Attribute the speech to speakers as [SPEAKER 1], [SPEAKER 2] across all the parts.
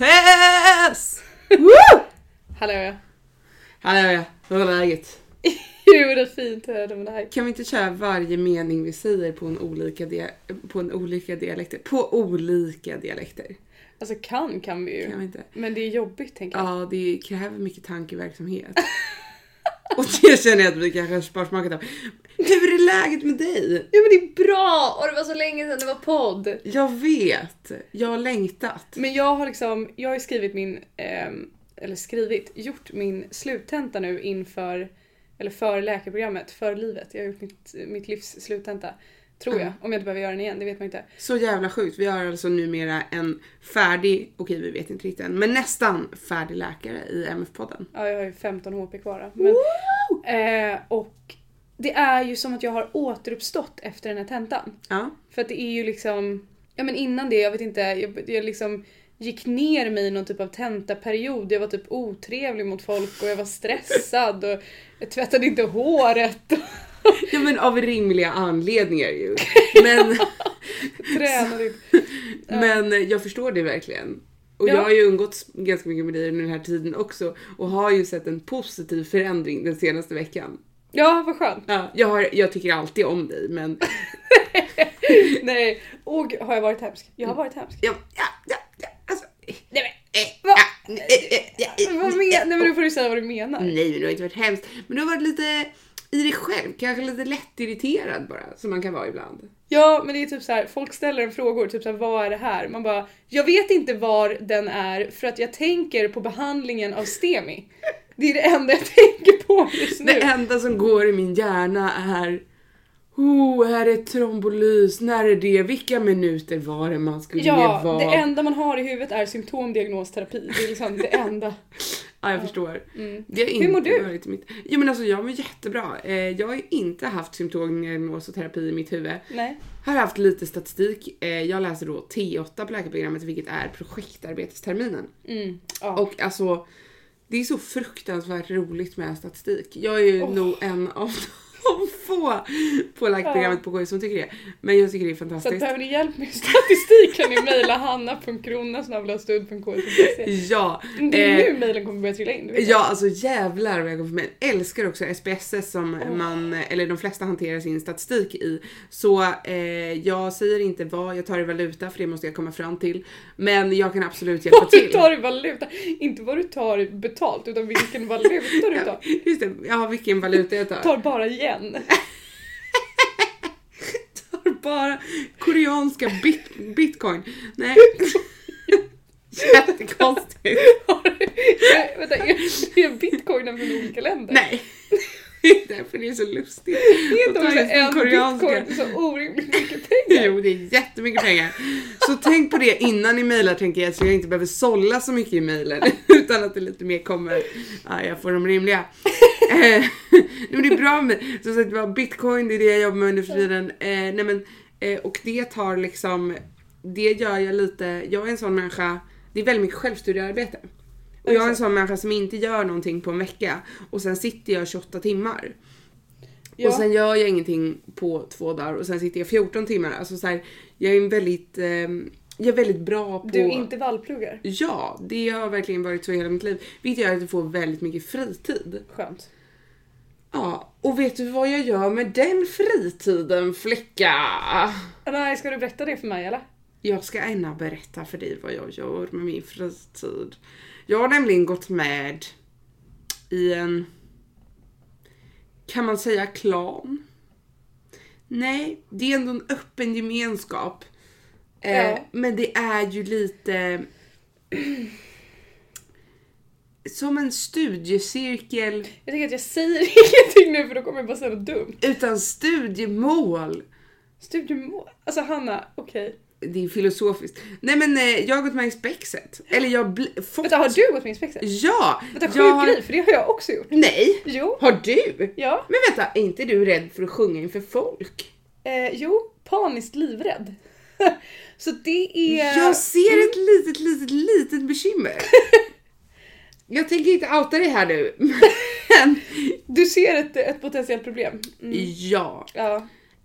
[SPEAKER 1] Access!
[SPEAKER 2] Woo! Hallå ja.
[SPEAKER 1] Hallå ja, hur är läget?
[SPEAKER 2] Jo det är fint här det med dig.
[SPEAKER 1] Kan vi inte köra varje mening vi säger på en olika, dia- på en olika dialekter? På olika dialekter.
[SPEAKER 2] Alltså kan kan vi ju.
[SPEAKER 1] Kan vi inte?
[SPEAKER 2] Men det är jobbigt tänker jag.
[SPEAKER 1] Ja, det kräver mycket tankeverksamhet. Och det känner jag att vi kanske sparar smaken av. Hur är läget med dig?
[SPEAKER 2] Jo men det är bra! Och det var så länge sedan det var podd.
[SPEAKER 1] Jag vet, jag har längtat.
[SPEAKER 2] Men jag har liksom, jag har ju skrivit min, ehm, eller skrivit, gjort min sluttenta nu inför, eller för läkarprogrammet, för livet. Jag har gjort mitt, mitt livs sluttenta. Tror jag. Om jag inte behöver göra den igen, det vet man inte.
[SPEAKER 1] Så jävla sjukt. Vi har alltså numera en färdig, okej vi vet inte riktigt än, men nästan färdig läkare i MF-podden.
[SPEAKER 2] Ja, jag har ju 15 HP kvar då. Men, eh, och det är ju som att jag har återuppstått efter den här tentan.
[SPEAKER 1] Ja.
[SPEAKER 2] För att det är ju liksom, ja men innan det, jag vet inte, jag, jag liksom gick ner mig i någon typ av tentaperiod. Jag var typ otrevlig mot folk och jag var stressad och jag tvättade inte håret och
[SPEAKER 1] Ja men av rimliga anledningar ju. Men,
[SPEAKER 2] tränade inte.
[SPEAKER 1] men jag förstår det verkligen. Och
[SPEAKER 2] Ja.
[SPEAKER 1] jag har ju umgåtts ganska mycket med dig under den här tiden också och har ju sett en positiv förändring den senaste veckan.
[SPEAKER 2] Ja, vad skönt.
[SPEAKER 1] Ja, jag, har, jag tycker alltid om dig men
[SPEAKER 2] Nej, och har jag varit hemsk? Jag har varit hemsk.
[SPEAKER 1] ja, ja, ja, ja, alltså, eh,
[SPEAKER 2] Nej men,
[SPEAKER 1] eh,
[SPEAKER 2] Va?
[SPEAKER 1] ja, eh, eh, ja, eh,
[SPEAKER 2] vad menar Nej men nu får du säga vad du menar.
[SPEAKER 1] Nej men det har inte varit hemskt. Men du har varit lite i dig själv, kanske lite lättirriterad bara som man kan vara ibland.
[SPEAKER 2] Ja, men det är typ så här, folk ställer en frågor, typ så här, vad är det här? Man bara, jag vet inte var den är för att jag tänker på behandlingen av STEMI. Det är det enda jag tänker på just nu.
[SPEAKER 1] Det enda som går i min hjärna är Oh, här är trombolys, när är det, vilka minuter var det man skulle
[SPEAKER 2] Ja,
[SPEAKER 1] ge vad?
[SPEAKER 2] det enda man har i huvudet är symptomdiagnosterapi. Det är liksom det enda. Mm.
[SPEAKER 1] Ja, jag förstår. Det har
[SPEAKER 2] Hur
[SPEAKER 1] inte
[SPEAKER 2] mår du?
[SPEAKER 1] Varit mitt... Jo men alltså jag mår jättebra. Eh, Jag har ju inte haft symptomdiagnos och terapi i mitt huvud.
[SPEAKER 2] Nej.
[SPEAKER 1] Har haft lite statistik. Eh, Jag läser då T8 på läkarprogrammet vilket är projektarbetesterminen.
[SPEAKER 2] Mm. Ja.
[SPEAKER 1] Och alltså, det är så fruktansvärt roligt med statistik. Jag är ju nog en av de få på läkarprogrammet på KI som tycker det. Men jag tycker det är
[SPEAKER 2] så att,
[SPEAKER 1] fantastiskt.
[SPEAKER 2] behöver ni hjälp med statistik kan ni mejla hanna.krona.stud.k.se
[SPEAKER 1] Ja,
[SPEAKER 2] Det är
[SPEAKER 1] eh,
[SPEAKER 2] nu mejlen kommer börja trilla in. du vet.
[SPEAKER 1] ja alltså jävlar vad jag går för mig. Älskar också SPSS som man, eller de flesta hanterar sin statistik i. Så eh, jag säger inte vad, jag tar i valuta för det måste jag komma fram till. Men jag kan absolut hjälpa
[SPEAKER 2] Vad du
[SPEAKER 1] till.
[SPEAKER 2] tar i valuta. Inte vad du tar betalt utan vilken valuta du tar.
[SPEAKER 1] Just det, ja vilken valuta jag tar.
[SPEAKER 2] Tar bara igen.
[SPEAKER 1] tar bara koreanska bit- bitcoin. Nej. Jättekonstigt.
[SPEAKER 2] Nej, Vänta, är, är bitcoinen från olika länder?
[SPEAKER 1] Nej. Det är Därför det är så lustigt.
[SPEAKER 2] är inte
[SPEAKER 1] Att ta
[SPEAKER 2] också
[SPEAKER 1] just den
[SPEAKER 2] en bitcoin så orimligt mycket pengar?
[SPEAKER 1] Jo, det är jättemycket pengar. Så tänk på det innan ni mejlar tänker jag, så jag inte behöver sålla så mycket i mejlen. Utan att det lite mer kommer, ja, jag får de rimliga. Eh, nej, men det är bra med, som sagt var, bitcoin, det är det jag jobbar med under för tiden. Eh, nej men, eh, och det tar liksom, det gör jag lite, jag är en sån människa, det är väldigt mycket självstudiearbete. Och jag är en sån människa som inte gör någonting på en vecka och sen sitter jag 28 timmar.
[SPEAKER 2] Ja.
[SPEAKER 1] Och sen gör jag ingenting på två dagar och sen sitter jag 14 timmar. Alltså så här, jag är en väldigt, ehm, jag är väldigt bra på...
[SPEAKER 2] Du intervallpluggar.
[SPEAKER 1] Ja, det har verkligen varit så hela mitt liv. Vilket gör att jag får väldigt mycket fritid.
[SPEAKER 2] Skönt.
[SPEAKER 1] Ja, och vet du vad jag gör med den fritiden flicka?
[SPEAKER 2] Nej, ska du berätta det för mig eller?
[SPEAKER 1] Jag ska gärna berätta för dig vad jag gör med min fritid. Jag har nämligen gått med i en, kan man säga klan? Nej, det är ändå en öppen gemenskap. Eh,
[SPEAKER 2] Ja.
[SPEAKER 1] Men det är ju lite som en studiecirkel
[SPEAKER 2] Jag tänker att jag säger ingenting nu för då kommer jag bara säga något dumt.
[SPEAKER 1] utan studiemål.
[SPEAKER 2] Studiemål. Alltså Hanna, okej.
[SPEAKER 1] Det är filosofiskt. Nej men eh, jag har gått med i Spexet. Eller jag har bli- fått...
[SPEAKER 2] Vänta, har du gått med inspektion?
[SPEAKER 1] Ja!
[SPEAKER 2] Vänta, sjuk
[SPEAKER 1] jag har-
[SPEAKER 2] grej, för det har jag också gjort.
[SPEAKER 1] Nej!
[SPEAKER 2] Jo,
[SPEAKER 1] Har du?
[SPEAKER 2] ja,
[SPEAKER 1] Men vänta, är inte du rädd för att sjunga inför folk?
[SPEAKER 2] eh, jo, paniskt livrädd. Så det är... Mm,
[SPEAKER 1] Jag ser ett litet, litet, litet bekymmer. jag tänker inte outa dig här nu, men
[SPEAKER 2] Mm. Du ser ett, ett potentiellt problem. Mm,
[SPEAKER 1] ja.
[SPEAKER 2] ja.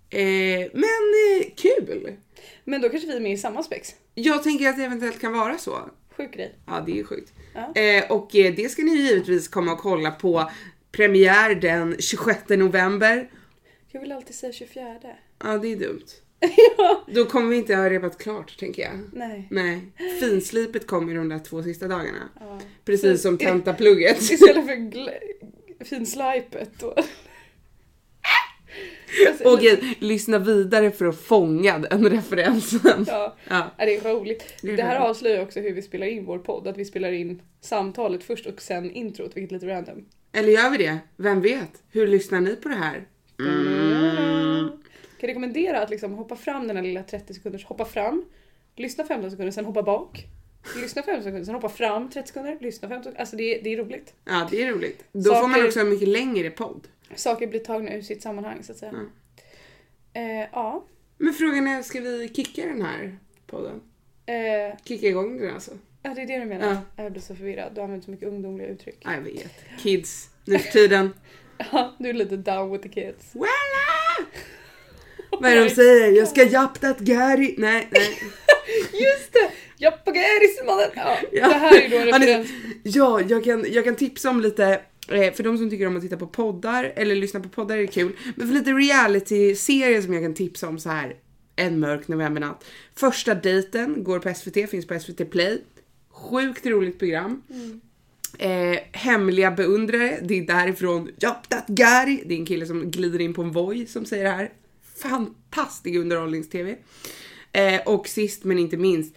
[SPEAKER 1] Eh, men eh, kul!
[SPEAKER 2] Men då kanske vi är med i samma spex.
[SPEAKER 1] Jag tänker att det eventuellt kan vara så.
[SPEAKER 2] Sjuk grej.
[SPEAKER 1] Ja, det är sjukt.
[SPEAKER 2] Ja.
[SPEAKER 1] Eh, och eh, det ska ni givetvis komma och kolla på premiär den 26 november.
[SPEAKER 2] Jag vill alltid säga 24.
[SPEAKER 1] Ja, det är dumt.
[SPEAKER 2] ja.
[SPEAKER 1] Då kommer vi inte ha repat klart, tänker jag.
[SPEAKER 2] Nej.
[SPEAKER 1] Nej, finslipet kommer de där två sista dagarna.
[SPEAKER 2] Ja.
[SPEAKER 1] Precis som tentaplugget.
[SPEAKER 2] Istället för gl- finslajpet då. Alltså,
[SPEAKER 1] Okej, lyssna vidare för att fånga den referensen.
[SPEAKER 2] Ja,
[SPEAKER 1] Ja.
[SPEAKER 2] ja, det är roligt.
[SPEAKER 1] Det är
[SPEAKER 2] Det här
[SPEAKER 1] roligt.
[SPEAKER 2] avslöjar också hur vi spelar in vår podd. Att vi spelar in samtalet först och sen introt, vilket är lite random.
[SPEAKER 1] Eller gör vi det? Vem vet? Hur lyssnar ni på det här? Mm.
[SPEAKER 2] Kan rekommendera att liksom hoppa fram den här lilla 30 sekunders, hoppa fram, lyssna 15 sekunder, sen hoppa bak. Lyssna 15 sekunder, sen hoppa fram 30 sekunder, lyssna 15 sekunder. Alltså det är, det är roligt.
[SPEAKER 1] Ja, det är roligt. Då
[SPEAKER 2] Saker-
[SPEAKER 1] får man också en mycket längre podd.
[SPEAKER 2] Saker blir tagna ur sitt sammanhang så att säga.
[SPEAKER 1] Mm.
[SPEAKER 2] Eh, ja.
[SPEAKER 1] Men frågan är, ska vi kicka den här podden?
[SPEAKER 2] Eh,
[SPEAKER 1] Kicka igång den alltså?
[SPEAKER 2] ja, det är det du menar.
[SPEAKER 1] Ja.
[SPEAKER 2] Jag blir så förvirrad. Du använder så mycket ungdomliga uttryck.
[SPEAKER 1] Ja, jag vet. Kids, nu för tiden.
[SPEAKER 2] Ja, du är lite down with the kids.
[SPEAKER 1] Wella! Vad är det de säger? Jag ska japp that Gary. Nej, nej.
[SPEAKER 2] Just det! Jappagerismannen! Ja,
[SPEAKER 1] Ja.
[SPEAKER 2] Det här är då en
[SPEAKER 1] Han är-
[SPEAKER 2] referens.
[SPEAKER 1] Ja, jag kan, jag kan tipsa om lite, eh, för de som tycker om att titta på poddar eller lyssna på poddar är det kul. Men för lite reality-serier som jag kan tipsa om så här en mörk novembernatt. Första dejten går på SVT, finns på SVT Play. Sjukt roligt program.
[SPEAKER 2] Mm.
[SPEAKER 1] Eh, hemliga beundrare, det är därifrån Japp that guy. Det är en kille som glider in på en voj som säger det här. Fantastisk underhållnings-tv. Eh, och sist men inte minst,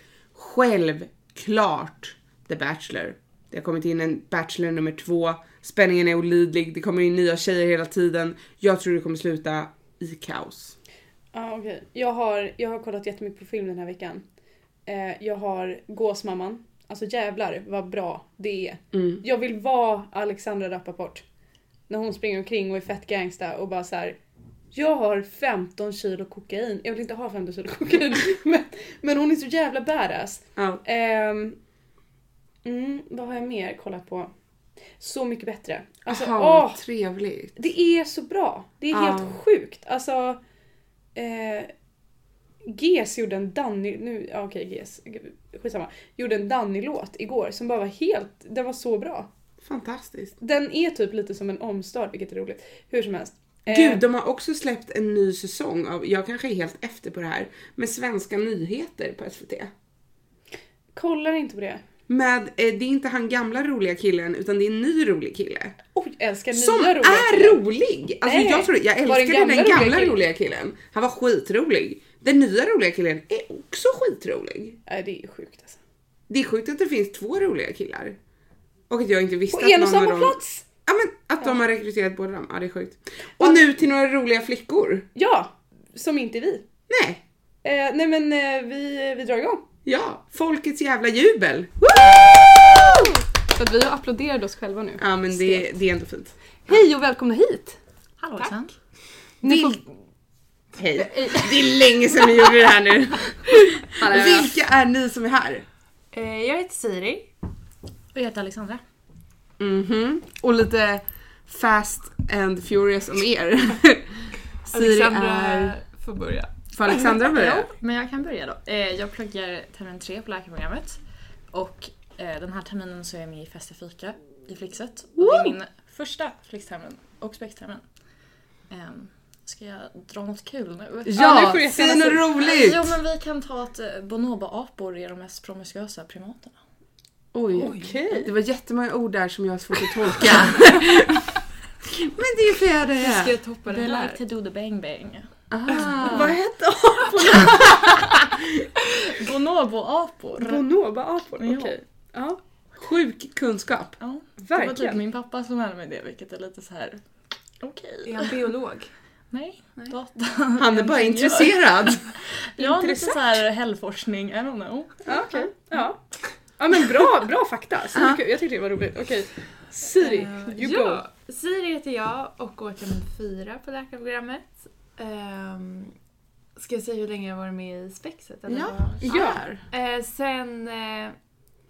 [SPEAKER 1] självklart The Bachelor. Det har kommit in en Bachelor nummer två. Spänningen är olidlig, det kommer in nya tjejer hela tiden. Jag tror det kommer sluta i kaos.
[SPEAKER 2] Ja, okej. Jag, har, jag har kollat jättemycket på film den här veckan. Eh, jag har Gåsmamman. Alltså jävlar vad bra det är.
[SPEAKER 1] Mm.
[SPEAKER 2] Jag vill vara Alexandra Rappaport. När hon springer omkring och är fett gangsta och bara så här. Jag har 15 kilo kokain. Jag vill inte ha 15 kilo kokain. men, men hon är så jävla badass.
[SPEAKER 1] Ja.
[SPEAKER 2] Ehm, mm, vad har jag mer kollat på? Så mycket bättre. Alltså,
[SPEAKER 1] Aha,
[SPEAKER 2] åh,
[SPEAKER 1] trevligt.
[SPEAKER 2] det är så bra. Det är
[SPEAKER 1] Ja.
[SPEAKER 2] helt sjukt. Alltså, eh, GES gjorde en Danny... Nu, ja, okej, GES. Skitsamma. Gjorde en Danny-låt igår som bara var helt... Den var så bra.
[SPEAKER 1] Fantastiskt.
[SPEAKER 2] Den är typ lite som en omstart, vilket är roligt. Hur som helst. Eh,
[SPEAKER 1] Gud, de har också släppt en ny säsong av, jag kanske är helt efter på det här, med svenska nyheter på SVT.
[SPEAKER 2] Kollar inte på det.
[SPEAKER 1] Med, eh, det är inte han gamla roliga killen, utan det är en ny rolig kille.
[SPEAKER 2] Oj, älskar nya
[SPEAKER 1] Som
[SPEAKER 2] roliga
[SPEAKER 1] är
[SPEAKER 2] killar.
[SPEAKER 1] rolig! Alltså
[SPEAKER 2] Nej.
[SPEAKER 1] jag, tror, jag
[SPEAKER 2] Var
[SPEAKER 1] älskade
[SPEAKER 2] den gamla
[SPEAKER 1] den gamla
[SPEAKER 2] roliga killen?
[SPEAKER 1] roliga killen. Han var skitrolig. Den nya roliga killen är också skitrolig.
[SPEAKER 2] Nej, det är sjukt alltså.
[SPEAKER 1] Det är sjukt att det finns två roliga killar. Och att jag inte visste
[SPEAKER 2] På
[SPEAKER 1] att
[SPEAKER 2] en och
[SPEAKER 1] någon
[SPEAKER 2] samma
[SPEAKER 1] av dem...
[SPEAKER 2] plats!
[SPEAKER 1] Ja men att de har rekryterat båda dem. Ja det är sjukt. Och nu till några roliga flickor.
[SPEAKER 2] Ja, som inte är vi.
[SPEAKER 1] Nej.
[SPEAKER 2] Eh, nej men eh, vi, vi drar igång.
[SPEAKER 1] Ja, folkets jävla jubel.
[SPEAKER 2] För att vi har applåderat oss själva nu.
[SPEAKER 1] Ja men det, det är ändå fint.
[SPEAKER 2] Hej och välkomna hit!
[SPEAKER 3] Hallåsan.
[SPEAKER 2] Ni får...
[SPEAKER 1] Hej. Det är länge sedan vi gjorde det här nu. Vilka är ni som är här?
[SPEAKER 3] Eh, Jag heter Siri. Och jag heter Alexandra.
[SPEAKER 1] Mhm. Och lite fast and furious om er. Siri är...
[SPEAKER 3] får börja.
[SPEAKER 1] Får Alexandra börja?
[SPEAKER 3] Ja, men jag kan börja då. Eh, Jag pluggar termin tre på läkarprogrammet. Och eh, den här terminen så är jag med i Fest och fika i Flixet. Och det är min första Flixtermin och Spextermin. Ehm, Ska jag dra något kul nu?
[SPEAKER 2] Ja, nu
[SPEAKER 1] Ja,
[SPEAKER 2] får du jättegärna
[SPEAKER 1] säg något
[SPEAKER 2] säga.
[SPEAKER 1] roligt!
[SPEAKER 3] Jo men vi kan ta att eh, bonobo-apor är de mest promiskuösa primaterna.
[SPEAKER 1] Oj.
[SPEAKER 2] Okej.
[SPEAKER 1] Det var jättemånga ord där som jag har svårt att tolka. men det är för jag det är.
[SPEAKER 2] jag toppa
[SPEAKER 3] They like to do the bang bang.
[SPEAKER 1] Ah.
[SPEAKER 2] Vad hette
[SPEAKER 3] Bonobo-apor.
[SPEAKER 2] Bonoba-apor?
[SPEAKER 3] Ja.
[SPEAKER 2] Okej. Ja,
[SPEAKER 1] Sjuk kunskap.
[SPEAKER 3] Ja. Det var typ
[SPEAKER 2] verkligen.
[SPEAKER 3] min pappa som lärde mig det vilket är lite så här. okej.
[SPEAKER 4] Är han biolog?
[SPEAKER 3] Nej,
[SPEAKER 4] Nej.
[SPEAKER 3] data.
[SPEAKER 1] Han är bara
[SPEAKER 3] Ingenjör.
[SPEAKER 1] intresserad.
[SPEAKER 3] Ja, lite
[SPEAKER 2] Intressant.
[SPEAKER 3] så här hällforskning, I don't know.
[SPEAKER 2] Ja, okej. Ja. ja men bra, bra fakta. Så mycket- Jag tyckte det var roligt. Okej. Siri,
[SPEAKER 4] Eh,
[SPEAKER 2] you go.
[SPEAKER 4] ja. Siri heter jag och går termin fyra på läkarprogrammet. Um, ska jag säga hur länge jag varit med i spexet? Eller?
[SPEAKER 1] Ja.
[SPEAKER 2] Gör.
[SPEAKER 4] Eh, sen eh,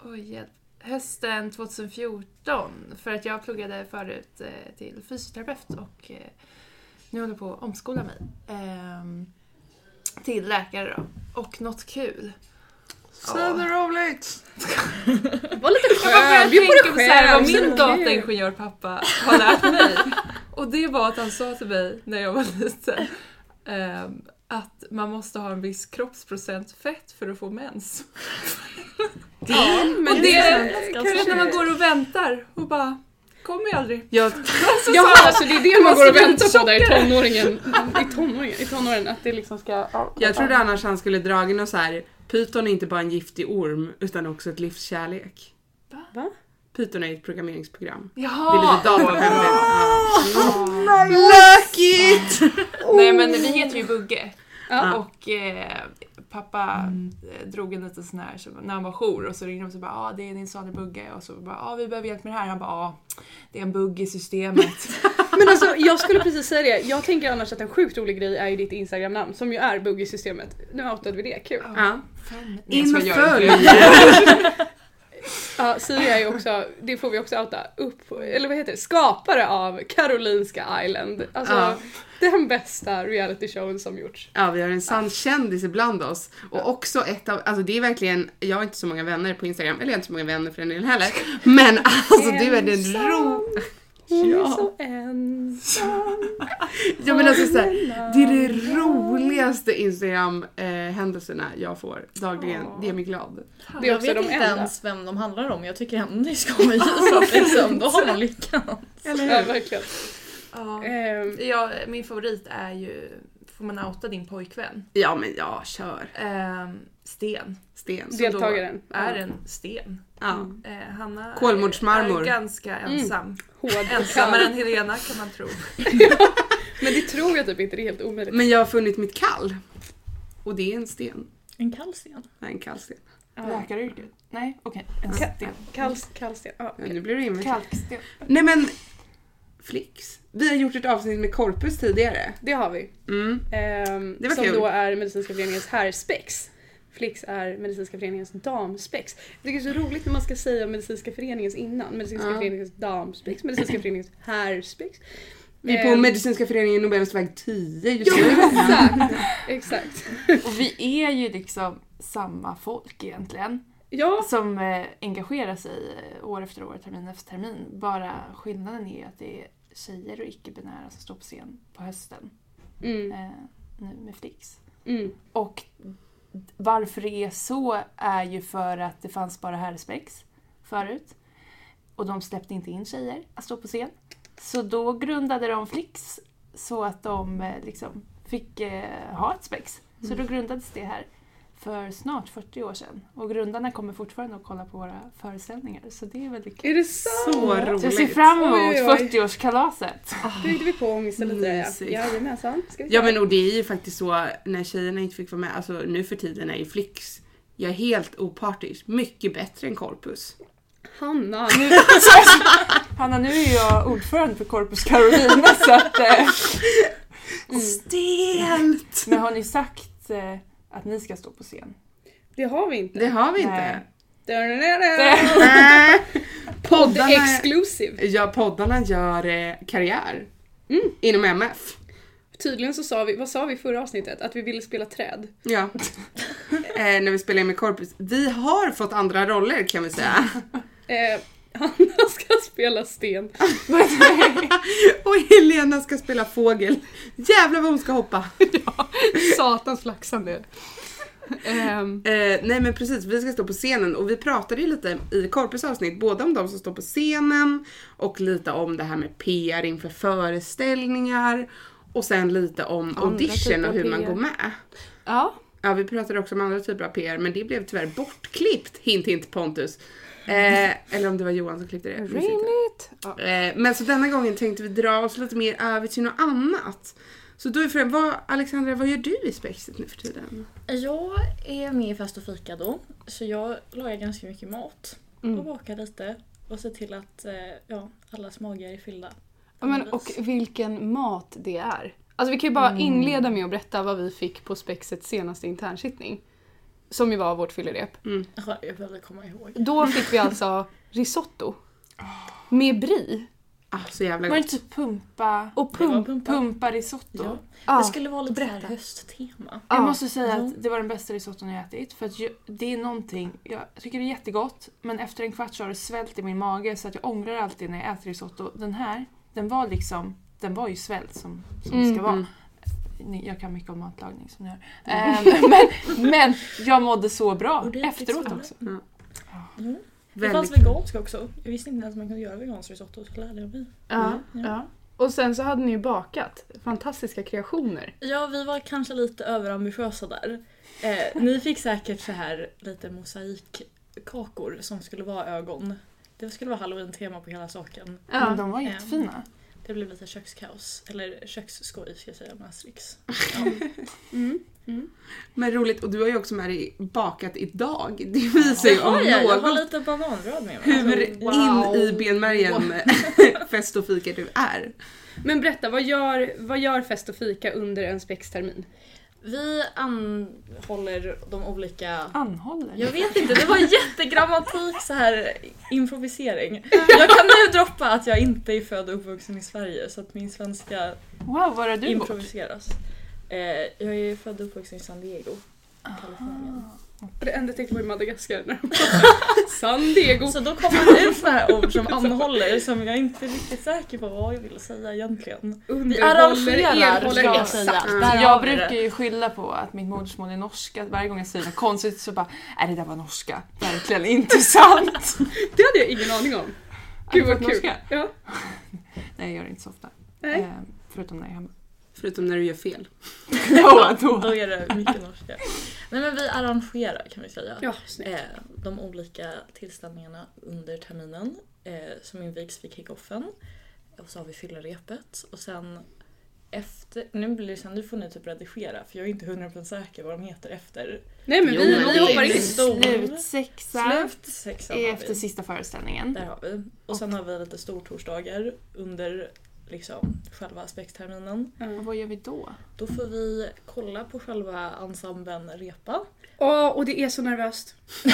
[SPEAKER 4] oj, hjälp. hösten 2014 för att jag pluggade förut eh, till fysioterapeut och eh, nu håller jag på att omskola mig ehm, till läkare då. Och något kul
[SPEAKER 1] Söder Rolex!
[SPEAKER 4] Var lite skön. Jag började
[SPEAKER 1] Bjud på dig
[SPEAKER 4] tänka på så här,
[SPEAKER 1] själv,
[SPEAKER 4] vad
[SPEAKER 1] så
[SPEAKER 4] min
[SPEAKER 1] kul.
[SPEAKER 4] dataingenjörpappa har lärt mig. Och det var att han sa till mig när jag var liten ehm, att man måste ha en viss kroppsprocent fett för att få mens.
[SPEAKER 1] Det är, men
[SPEAKER 4] och
[SPEAKER 1] det
[SPEAKER 4] det-
[SPEAKER 1] är
[SPEAKER 4] Kanske när man går och väntar och bara kommer ju aldrig.
[SPEAKER 1] jag,
[SPEAKER 2] Ja, alltså det är det man
[SPEAKER 4] måste
[SPEAKER 2] går och
[SPEAKER 4] bli
[SPEAKER 2] väntar på där i
[SPEAKER 4] tjockare.
[SPEAKER 2] tonåringen. I tonåringen, i tonåren att det liksom ska... Ja,
[SPEAKER 1] jag trodde annars han skulle dra in och så här. Python är inte bara en giftig orm utan också ett livskärlek.
[SPEAKER 4] Va?
[SPEAKER 2] Va?
[SPEAKER 1] Python är ett programmeringsprogram. Det är
[SPEAKER 4] Jaha!
[SPEAKER 1] lite datorhemligt. Ja. Lucky!
[SPEAKER 4] Nej men vi heter ju Bugge.
[SPEAKER 2] Ja.
[SPEAKER 4] Och eh, pappa eh, drog en liten sån här, så, när han var jour och så ringde de och så bara ja ah, det är din son är Bugge och så bara ja ah, vi behöver hjälp med det här. Han bara ja ah, det är en bugg i systemet.
[SPEAKER 2] Men alltså jag skulle precis säga det, jag tänker annars att en sjukt rolig grej är ju ditt instagramnamn som ju är bugg i systemet. Nu outade vi det, kul.
[SPEAKER 1] Ja.
[SPEAKER 4] Fan, nej,
[SPEAKER 1] In
[SPEAKER 4] jag
[SPEAKER 1] med
[SPEAKER 4] gör
[SPEAKER 1] följ!
[SPEAKER 4] inte det.
[SPEAKER 2] Ja, Siri är ju också, det får vi också outa, upp, eller vad heter det, skapare av Karolinska Island. Alltså
[SPEAKER 1] Ja.
[SPEAKER 2] den bästa reality showen som gjorts.
[SPEAKER 1] Ja, vi har en sann kändis ibland oss. Och också ett av, alltså det är verkligen, jag har inte så många vänner på Instagram, eller jag har inte så många vänner för den delen heller. Men alltså du är den ro...
[SPEAKER 2] Hon är
[SPEAKER 1] Ja.
[SPEAKER 2] så ensam.
[SPEAKER 1] Ja men alltså såhär, det är de roligaste Instagram-händelserna jag får dagligen. Det gör mig glad.
[SPEAKER 2] Det är
[SPEAKER 3] jag
[SPEAKER 2] också
[SPEAKER 3] vet
[SPEAKER 2] de
[SPEAKER 3] inte
[SPEAKER 2] enda.
[SPEAKER 3] ens vem de handlar om, jag tycker ändå det är skoj. Så liksom, då har man lyckan.
[SPEAKER 1] Eller
[SPEAKER 2] Ja, verkligen.
[SPEAKER 4] Ja.
[SPEAKER 2] Ehm,
[SPEAKER 4] Ja, min favorit är ju Får man outa din pojkvän?
[SPEAKER 1] Ja men ja, kör.
[SPEAKER 4] Ehm, sten.
[SPEAKER 1] Sten.
[SPEAKER 4] Så
[SPEAKER 2] deltagaren.
[SPEAKER 4] Då är en sten.
[SPEAKER 1] Ja.
[SPEAKER 4] Eh, Hanna
[SPEAKER 1] Kolmårdsmarmor.
[SPEAKER 4] är ganska ensam.
[SPEAKER 2] Hård
[SPEAKER 4] Ensammare än Helena kan man tro.
[SPEAKER 2] Men det tror jag typ inte, det är helt omöjligt.
[SPEAKER 1] Men jag har funnit mitt kall. Och det är en sten.
[SPEAKER 3] En kall sten.
[SPEAKER 1] Nej, en kall sten.
[SPEAKER 2] Ja.
[SPEAKER 4] Läkaryrket? Nej, okej. En
[SPEAKER 2] Ka-
[SPEAKER 4] sten.
[SPEAKER 2] Kall, kallsten. Ja,
[SPEAKER 1] Ja, nu blir det inget.
[SPEAKER 4] Kalksten.
[SPEAKER 1] Nej men, Flix. Vi har gjort ett avsnitt med Korpus tidigare.
[SPEAKER 2] det har vi.
[SPEAKER 1] Mm.
[SPEAKER 2] Ehm,
[SPEAKER 1] Det var
[SPEAKER 2] som
[SPEAKER 1] kul.
[SPEAKER 2] då är Medicinska föreningens herrspex. Flix är Medicinska föreningens damspex. Jag tycker det är så roligt när man ska säga Medicinska föreningens innan. Medicinska
[SPEAKER 1] Ja.
[SPEAKER 2] föreningens damspex, Medicinska föreningens herrspex.
[SPEAKER 1] Vi är på
[SPEAKER 2] Ehm,
[SPEAKER 1] Medicinska föreningen Nobels väg 10 just
[SPEAKER 2] Ja,
[SPEAKER 1] nu.
[SPEAKER 2] exakt! exakt.
[SPEAKER 4] Och vi är ju liksom samma folk egentligen.
[SPEAKER 2] Ja,
[SPEAKER 4] Som eh, engagerar sig eh, år efter år, termin efter termin. Bara skillnaden är att det är tjejer och icke-binära som står på scen på hösten.
[SPEAKER 2] mm,
[SPEAKER 4] Eh, nu med Flix.
[SPEAKER 2] mm,
[SPEAKER 4] Och varför det är så är ju för att det fanns bara herrspex förut. Och de släppte inte in tjejer att stå på scen. Så då grundade de Flix så att de eh, liksom fick eh, ha ett spex. Så då grundades det här för snart 40 år sedan. Och grundarna kommer fortfarande att kolla på våra föreställningar. Så det är väldigt kul.
[SPEAKER 2] är det sant?
[SPEAKER 1] Så roligt.
[SPEAKER 4] Jag ser fram emot
[SPEAKER 2] Oj, oj, oj.
[SPEAKER 4] 40-årskalaset.
[SPEAKER 2] Byggde vi på ångesten lite? Ja.
[SPEAKER 1] Mysigt.
[SPEAKER 2] Jajamensan. Ska vi
[SPEAKER 1] Ja
[SPEAKER 2] ta-
[SPEAKER 1] men och det är ju faktiskt så när tjejerna inte fick vara med, alltså nu för tiden är ju Flix, jag är helt opartisk, mycket bättre än Korpus.
[SPEAKER 2] Hanna!
[SPEAKER 4] Hanna, nu är jag ordförande för Corpus Carolina så att... Eh, Mm.
[SPEAKER 1] Stelt!
[SPEAKER 4] Men har ni sagt eh, att ni ska stå på scen?
[SPEAKER 2] Det har vi inte.
[SPEAKER 1] Det har vi inte.
[SPEAKER 4] Nej.
[SPEAKER 2] Da-da-da-da.
[SPEAKER 1] Nej.
[SPEAKER 2] Podd
[SPEAKER 1] poddarna,
[SPEAKER 2] exclusive.
[SPEAKER 1] ja, poddarna gör eh, karriär
[SPEAKER 2] Mm.
[SPEAKER 1] inom MF.
[SPEAKER 2] Tydligen så sa vi, vad sa vi i förra avsnittet? Att vi ville spela träd.
[SPEAKER 1] Ja. eh, när vi spelar in med Korpus. Vi har fått andra roller kan vi säga.
[SPEAKER 2] Eh, Hanna ska spela sten.
[SPEAKER 1] och Helena ska spela fågel. Jävlar vad hon ska hoppa.
[SPEAKER 2] Satans flaxande. Ehm,
[SPEAKER 1] Eh, nej men precis, vi ska stå på scenen och vi pratade ju lite i Korpus avsnitt både om de som står på scenen och lite om det här med PR inför föreställningar och sen lite om audition
[SPEAKER 4] typer
[SPEAKER 1] och
[SPEAKER 4] av
[SPEAKER 1] hur man
[SPEAKER 4] PR.
[SPEAKER 1] går med.
[SPEAKER 4] Ja.
[SPEAKER 1] Ja vi pratade också om andra typer av PR men det blev tyvärr bortklippt, hint hint Pontus. Eh, eller om det var Johan som klippte det. jag minns inte.
[SPEAKER 4] Rimligt.
[SPEAKER 1] Eh, men så denna gången tänkte vi dra oss lite mer över till något annat. Så då är frågan, vad, Alexandra vad gör du i spexet nu för tiden?
[SPEAKER 3] Jag är med i Fest och fika då, så jag lagar ganska mycket mat och bakar lite och ser till att eh, ja, allas magar är fyllda.
[SPEAKER 5] Ja, men, och vilken mat det är. Alltså, vi kan ju bara
[SPEAKER 2] Mm.
[SPEAKER 5] inleda med att berätta vad vi fick på Spexets senaste internsittning. Som ju var vårt fyllerep.
[SPEAKER 3] Jaha, jag behöver komma ihåg.
[SPEAKER 5] Då fick vi alltså risotto. Med brie.
[SPEAKER 1] Ah, så jävla
[SPEAKER 4] Var det
[SPEAKER 1] gott.
[SPEAKER 4] inte typ pumpa,
[SPEAKER 5] Och
[SPEAKER 3] Det var
[SPEAKER 5] pump.
[SPEAKER 3] pumpa.
[SPEAKER 4] pumpa risotto?
[SPEAKER 3] Ja.
[SPEAKER 5] Ja.
[SPEAKER 3] Det skulle vara lite så här
[SPEAKER 4] Berätta.
[SPEAKER 3] hösttema.
[SPEAKER 4] Jag
[SPEAKER 5] Ja.
[SPEAKER 4] måste säga
[SPEAKER 3] Jo.
[SPEAKER 4] att det var den bästa risotton jag ätit. För att ju- det är någonting, jag tycker det är jättegott men efter en kvart så har det svällt i min mage så att jag ångrar alltid när jag äter risotto. Den här, den var liksom, den var ju svällt som, som det ska
[SPEAKER 5] Mm.
[SPEAKER 4] vara. Eh, Ni- Jag kan mycket om matlagning som ni hör. Ehm, men, men jag mådde så bra
[SPEAKER 3] Ordentligt
[SPEAKER 4] efteråt
[SPEAKER 3] så.
[SPEAKER 4] också.
[SPEAKER 3] Jo. Mm. Det fanns
[SPEAKER 1] Väldigt...
[SPEAKER 3] vegansk också. Jag visste inte ens att man kunde göra vegansk risotto. Så lärde jag mig.
[SPEAKER 5] Ja,
[SPEAKER 3] Mm.
[SPEAKER 5] ja. Och sen så hade ni ju bakat fantastiska kreationer.
[SPEAKER 3] Ja, vi var kanske lite överambitiösa där. Eh, ni fick säkert så här lite mosaikkakor som skulle vara ögon. Det skulle vara halloween-tema på hela saken.
[SPEAKER 4] Men
[SPEAKER 5] Mm.
[SPEAKER 4] de var jättefina.
[SPEAKER 3] Det blev lite kökskaos. Eller köksskoj ska jag säga med Asterix.
[SPEAKER 1] Mm. Men roligt, och du har ju också med dig bakat idag. Det visar ju om
[SPEAKER 3] Jaha, ja, jag har
[SPEAKER 1] något
[SPEAKER 3] lite bananbröd med mig.
[SPEAKER 1] hur
[SPEAKER 5] Wow.
[SPEAKER 1] in i benmärgen fest och fika du är.
[SPEAKER 2] Men berätta, vad gör, vad gör fest och fika under en spextermin?
[SPEAKER 3] Vi anhåller de olika...
[SPEAKER 4] Anhåller.
[SPEAKER 3] Jag vet inte, det var jättegrammatik så här improvisering. Jag kan nu droppa att jag inte är född och uppvuxen i Sverige så att min svenska
[SPEAKER 4] Wow, var är du bort?
[SPEAKER 3] improviseras. Eh, jag är född och uppvuxen i San Diego,
[SPEAKER 4] Ah.
[SPEAKER 3] Kalifornien.
[SPEAKER 2] För det enda jag tänkte på i Madagaskar när de San Diego.
[SPEAKER 3] Så då kommer det ut sådana här ord som anhåller som jag inte är riktigt säker på vad jag ville säga egentligen. Vi arrangerar ska jag
[SPEAKER 2] erhåller.
[SPEAKER 3] säga.
[SPEAKER 1] Mm.
[SPEAKER 3] Där har
[SPEAKER 4] Alltså, Jag
[SPEAKER 3] vi det.
[SPEAKER 4] brukar ju skylla på att mitt modersmål är norska. Varje gång jag säger något konstigt så bara, är det där var norska. Verkligen inte sant. Äh,
[SPEAKER 2] Det hade jag ingen aning om. Gud vad kul.
[SPEAKER 4] Norska?
[SPEAKER 2] Ja.
[SPEAKER 4] Nej, jag gör det inte så ofta.
[SPEAKER 2] Nej.
[SPEAKER 4] Eh, förutom när jag är hemma.
[SPEAKER 1] Förutom när du gör fel.
[SPEAKER 4] Ja,
[SPEAKER 3] Då är det mycket norska. Nej men vi arrangerar kan vi säga.
[SPEAKER 2] Ja, snyggt.
[SPEAKER 3] Eh, de olika tillställningarna under terminen eh, som invigs vid kickoffen. Och så har vi fyllarepet och sen efter, nu blir det sen, nu får ni typ redigera för jag är inte 100% säker vad de heter efter.
[SPEAKER 2] Nej men
[SPEAKER 1] Jo,
[SPEAKER 2] vi,
[SPEAKER 1] men
[SPEAKER 2] vi
[SPEAKER 1] det
[SPEAKER 2] hoppar
[SPEAKER 1] är
[SPEAKER 2] in.
[SPEAKER 3] stor.
[SPEAKER 4] Slutsexa
[SPEAKER 3] Slutsexan
[SPEAKER 4] är
[SPEAKER 3] har
[SPEAKER 4] efter
[SPEAKER 3] vi.
[SPEAKER 4] sista föreställningen.
[SPEAKER 3] Där har vi. Och sen har vi lite stortorsdagar under liksom själva aspektterminen.
[SPEAKER 4] Och vad gör vi då?
[SPEAKER 3] Då får vi kolla på själva ensemblen repa.
[SPEAKER 2] Ja, och det är så nervöst.
[SPEAKER 4] Det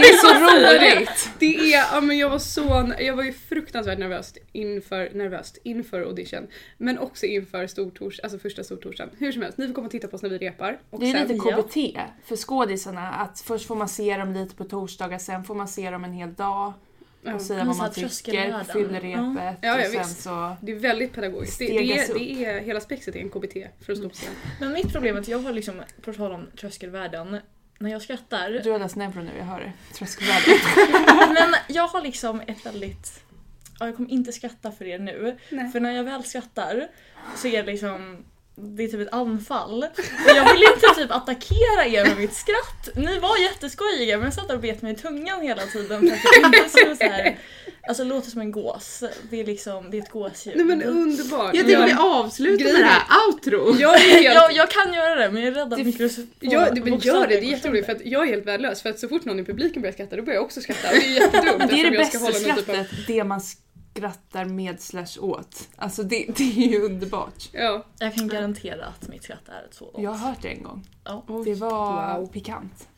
[SPEAKER 4] är så roligt!
[SPEAKER 2] Det är, ja men jag var så, jag var ju fruktansvärt nervös inför, nervöst inför audition. Men också inför stortors, alltså första stortorsen. Hur som helst, ni får komma och titta på oss när vi repar. Och
[SPEAKER 4] Det är lite
[SPEAKER 3] ja.
[SPEAKER 4] KBT för skådisarna. Att först får man se dem lite på torsdagar, sen får man se dem en hel dag
[SPEAKER 2] Ja.
[SPEAKER 4] och säga
[SPEAKER 3] Men
[SPEAKER 4] vad
[SPEAKER 3] så
[SPEAKER 4] man
[SPEAKER 3] här tröskelvärden.
[SPEAKER 4] tycker, fyller repet
[SPEAKER 2] Ja, ja,
[SPEAKER 4] och sen
[SPEAKER 2] visst.
[SPEAKER 4] så...
[SPEAKER 2] Det är väldigt pedagogiskt. Det, det,
[SPEAKER 4] Stegas
[SPEAKER 2] är,
[SPEAKER 4] upp.
[SPEAKER 2] det är, hela spexet är en KBT för att stå på scen.
[SPEAKER 3] Men mitt problem är att jag har liksom, på tal om tröskelvärden, när jag skrattar.
[SPEAKER 4] Du har läst neuro nu, jag hör det. Tröskelvärdet.
[SPEAKER 3] Men jag har liksom ett väldigt... Ja, jag kommer inte skratta för er nu.
[SPEAKER 2] Nej.
[SPEAKER 3] För när jag väl skrattar så är det liksom... Det är typ ett anfall. Och jag vill inte typ attackera er med mitt skratt. Ni var jätteskojiga men jag satt där och bet mig i tungan hela tiden för att jag inte skulle så här... Alltså det låter som en gås. Det är liksom, det är ett gåsljud.
[SPEAKER 2] Nej men underbart.
[SPEAKER 1] Jag tänker vi avslutar med det här outro.
[SPEAKER 2] Jag är helt...
[SPEAKER 3] jag, jag kan göra det men jag är rädd att mikros...
[SPEAKER 2] Ja, det, men gör det, det är
[SPEAKER 3] jätteroligt
[SPEAKER 2] jätteroligt för att jag är helt värdelös för att så fort någon i publiken börjar skratta då börjar jag också skratta och det är jättedumt
[SPEAKER 4] Det är
[SPEAKER 2] eftersom
[SPEAKER 4] det
[SPEAKER 2] jag ska
[SPEAKER 4] bästa
[SPEAKER 2] hålla någon typ av-
[SPEAKER 4] skrattet, det man skrattar med slash åt. Alltså det, det är ju underbart.
[SPEAKER 2] Ja,
[SPEAKER 3] Jag kan garantera att mitt skratt är ett sådant.
[SPEAKER 4] Jag har hört det en gång.
[SPEAKER 3] Ja.
[SPEAKER 4] Det var
[SPEAKER 2] Wow.
[SPEAKER 4] pikant.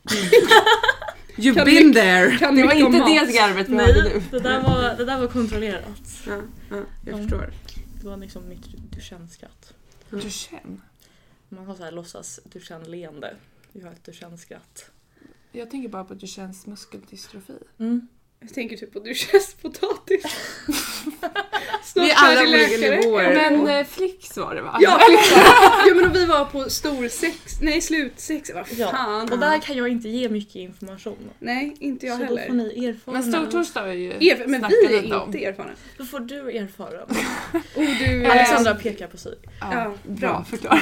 [SPEAKER 1] You've
[SPEAKER 2] Kan
[SPEAKER 1] been there!
[SPEAKER 2] kan
[SPEAKER 4] Det var
[SPEAKER 2] mycket om
[SPEAKER 4] inte
[SPEAKER 2] mat. Mm.
[SPEAKER 4] det garvet vi hade nu.
[SPEAKER 3] Nej, det där, var, det där var kontrollerat.
[SPEAKER 1] Ja, ja, jag
[SPEAKER 3] Ja.
[SPEAKER 1] förstår.
[SPEAKER 3] Det var liksom mitt Duchenne-skratt.
[SPEAKER 4] Du känner.
[SPEAKER 3] Man har så här låtsas Duchenne-leende. Jag har ett Duchenne-skratt.
[SPEAKER 4] Jag tänker bara på att du känns muskeldystrofi.
[SPEAKER 3] Mm.
[SPEAKER 2] Jag tänker typ på duschens potatis. Snart
[SPEAKER 1] Vi är alla
[SPEAKER 2] färdig
[SPEAKER 1] olika
[SPEAKER 2] läkare.
[SPEAKER 1] nivåer.
[SPEAKER 4] Men eh, Flix var det va?
[SPEAKER 2] Ja, ja men och vi var på stor sex, nej slutsex, vad
[SPEAKER 3] Ja.
[SPEAKER 2] fan.
[SPEAKER 3] Och där kan jag inte ge mycket information.
[SPEAKER 2] Nej, inte jag
[SPEAKER 3] så då får
[SPEAKER 2] heller.
[SPEAKER 3] ni erfara.
[SPEAKER 4] Men stortorsdag har vi ju
[SPEAKER 2] Er, Mm. men
[SPEAKER 4] snackat
[SPEAKER 2] vi är
[SPEAKER 4] lite om.
[SPEAKER 2] inte erfarna.
[SPEAKER 3] Då får du erfara.
[SPEAKER 2] Oh, du,
[SPEAKER 3] Alexandra pekar på sig.
[SPEAKER 4] Ja,
[SPEAKER 2] Ja,
[SPEAKER 4] bra
[SPEAKER 2] bra.
[SPEAKER 4] förklarat.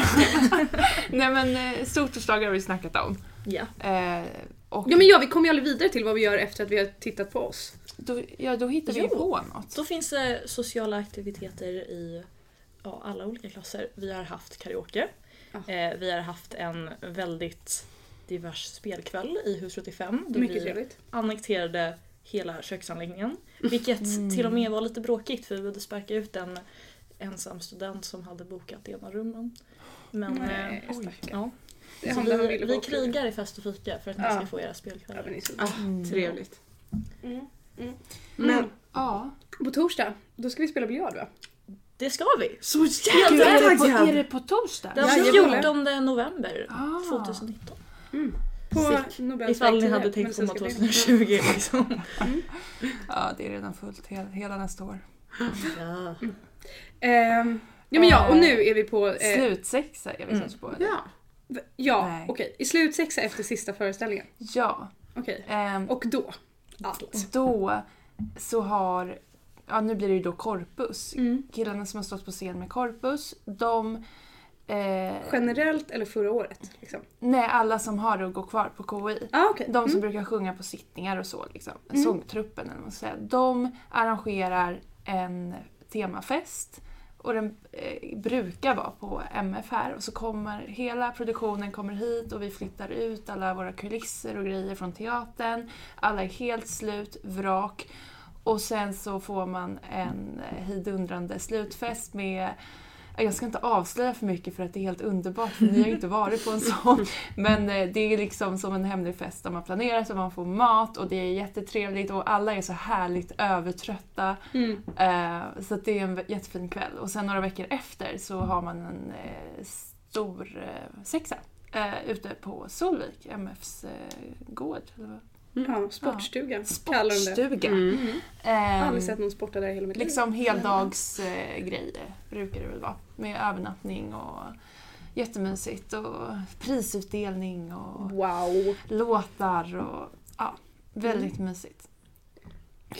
[SPEAKER 4] Nej men eh, stortorsdagar har vi snackat om.
[SPEAKER 3] Ja.
[SPEAKER 4] Eh, och
[SPEAKER 2] Ja men ja, vi kommer ju aldrig vidare till vad vi gör efter att vi har tittat på oss.
[SPEAKER 4] då, ja, då hittar vi ju
[SPEAKER 3] Jo.
[SPEAKER 4] på något.
[SPEAKER 3] Då finns det sociala aktiviteter i ja, alla olika klasser. Vi har haft karaoke.
[SPEAKER 2] Ja.
[SPEAKER 3] Eh, vi har haft en väldigt divers spelkväll i Hus 75. då vi-
[SPEAKER 2] Mycket trevligt.
[SPEAKER 3] annekterade hela köksanläggningen. Vilket till och med var lite bråkigt för vi behövde sparka ut en ensam student som hade bokat ena rummen. Men eh,
[SPEAKER 2] Nej,
[SPEAKER 4] Oj.
[SPEAKER 3] ja.
[SPEAKER 2] det
[SPEAKER 3] Så
[SPEAKER 2] han där han
[SPEAKER 3] vi,
[SPEAKER 2] ville
[SPEAKER 3] vi
[SPEAKER 2] vara på.
[SPEAKER 3] krigar i fest och fika för att ni
[SPEAKER 2] Ja.
[SPEAKER 3] ska få era
[SPEAKER 2] Ja, men
[SPEAKER 3] spelkvällar.
[SPEAKER 2] det är så-
[SPEAKER 1] Ah, trevligt.
[SPEAKER 2] Mm.
[SPEAKER 1] Ah, Men
[SPEAKER 5] Ja.
[SPEAKER 2] På torsdag, då ska vi spela biljard va?
[SPEAKER 3] Det ska vi!
[SPEAKER 1] Så
[SPEAKER 4] Gud,
[SPEAKER 1] jäkla
[SPEAKER 4] är, det på, är
[SPEAKER 1] taggad!
[SPEAKER 4] det på torsdag?
[SPEAKER 3] Den
[SPEAKER 2] Jajamän.
[SPEAKER 3] 14 november
[SPEAKER 4] Ah.
[SPEAKER 3] 2019.
[SPEAKER 2] På Nobels
[SPEAKER 3] Ifall ni
[SPEAKER 2] verktyg,
[SPEAKER 3] hade tänkt komma
[SPEAKER 2] medicinska förening.
[SPEAKER 3] 2020 liksom.
[SPEAKER 4] Ja, det är redan fullt hela, hela nästa år.
[SPEAKER 3] Ja.
[SPEAKER 2] Ehm, ja men ja, och nu är vi på... eh,
[SPEAKER 4] Slutsexa är vi
[SPEAKER 3] Mm.
[SPEAKER 4] kanske på. eller?
[SPEAKER 1] Ja.
[SPEAKER 2] ja,
[SPEAKER 4] Nej.
[SPEAKER 2] okej. I slutsexa efter sista föreställningen.
[SPEAKER 4] Ja.
[SPEAKER 2] Okej.
[SPEAKER 4] ehm,
[SPEAKER 2] Och då? Allt.
[SPEAKER 4] då så har, ja nu blir det ju då Korpus.
[SPEAKER 2] Mm.
[SPEAKER 4] Killarna som har stått på scen med Korpus, de... Eh,
[SPEAKER 2] Generellt eller förra året? Liksom.
[SPEAKER 4] nej, alla som har det och går kvar på KI.
[SPEAKER 2] Ah, okej.
[SPEAKER 4] De som brukar sjunga på sittningar och så, liksom. sångtruppen eller vad man ska säga. De arrangerar en temafest och den eh, brukar vara på MF här och så kommer hela produktionen kommer hit och vi flyttar ut alla våra kulisser och grejer från teatern. Alla är helt slut, vrak och sen så får man en eh, hejdundrande slutfest med jag ska inte avslöja för mycket för att det är helt underbart för ni har ju inte varit på en sån. Men eh, det är liksom som en hemlig fest där man planerar så man får mat och det är jättetrevligt och alla är så härligt övertrötta.
[SPEAKER 2] Mm.
[SPEAKER 4] Eh, Så att det är en vä- jättefin kväll. Och sen några veckor efter så har man en eh, stor eh, sexa eh, ute på Solvik, MFs eh, gård. Eller vad?
[SPEAKER 2] Ja, sportstugan kallar de det.
[SPEAKER 4] Sportstuga.
[SPEAKER 1] Mm.
[SPEAKER 2] Jag har
[SPEAKER 4] Ehm,
[SPEAKER 2] aldrig sett någon sporta där i hela mitt liv.
[SPEAKER 4] Liksom heldagsgrejer eh, grejer brukar det väl vara. Med övernattning och jättemysigt och prisutdelning och
[SPEAKER 2] Wow.
[SPEAKER 4] låtar och ja, väldigt
[SPEAKER 1] Mm.
[SPEAKER 4] mysigt.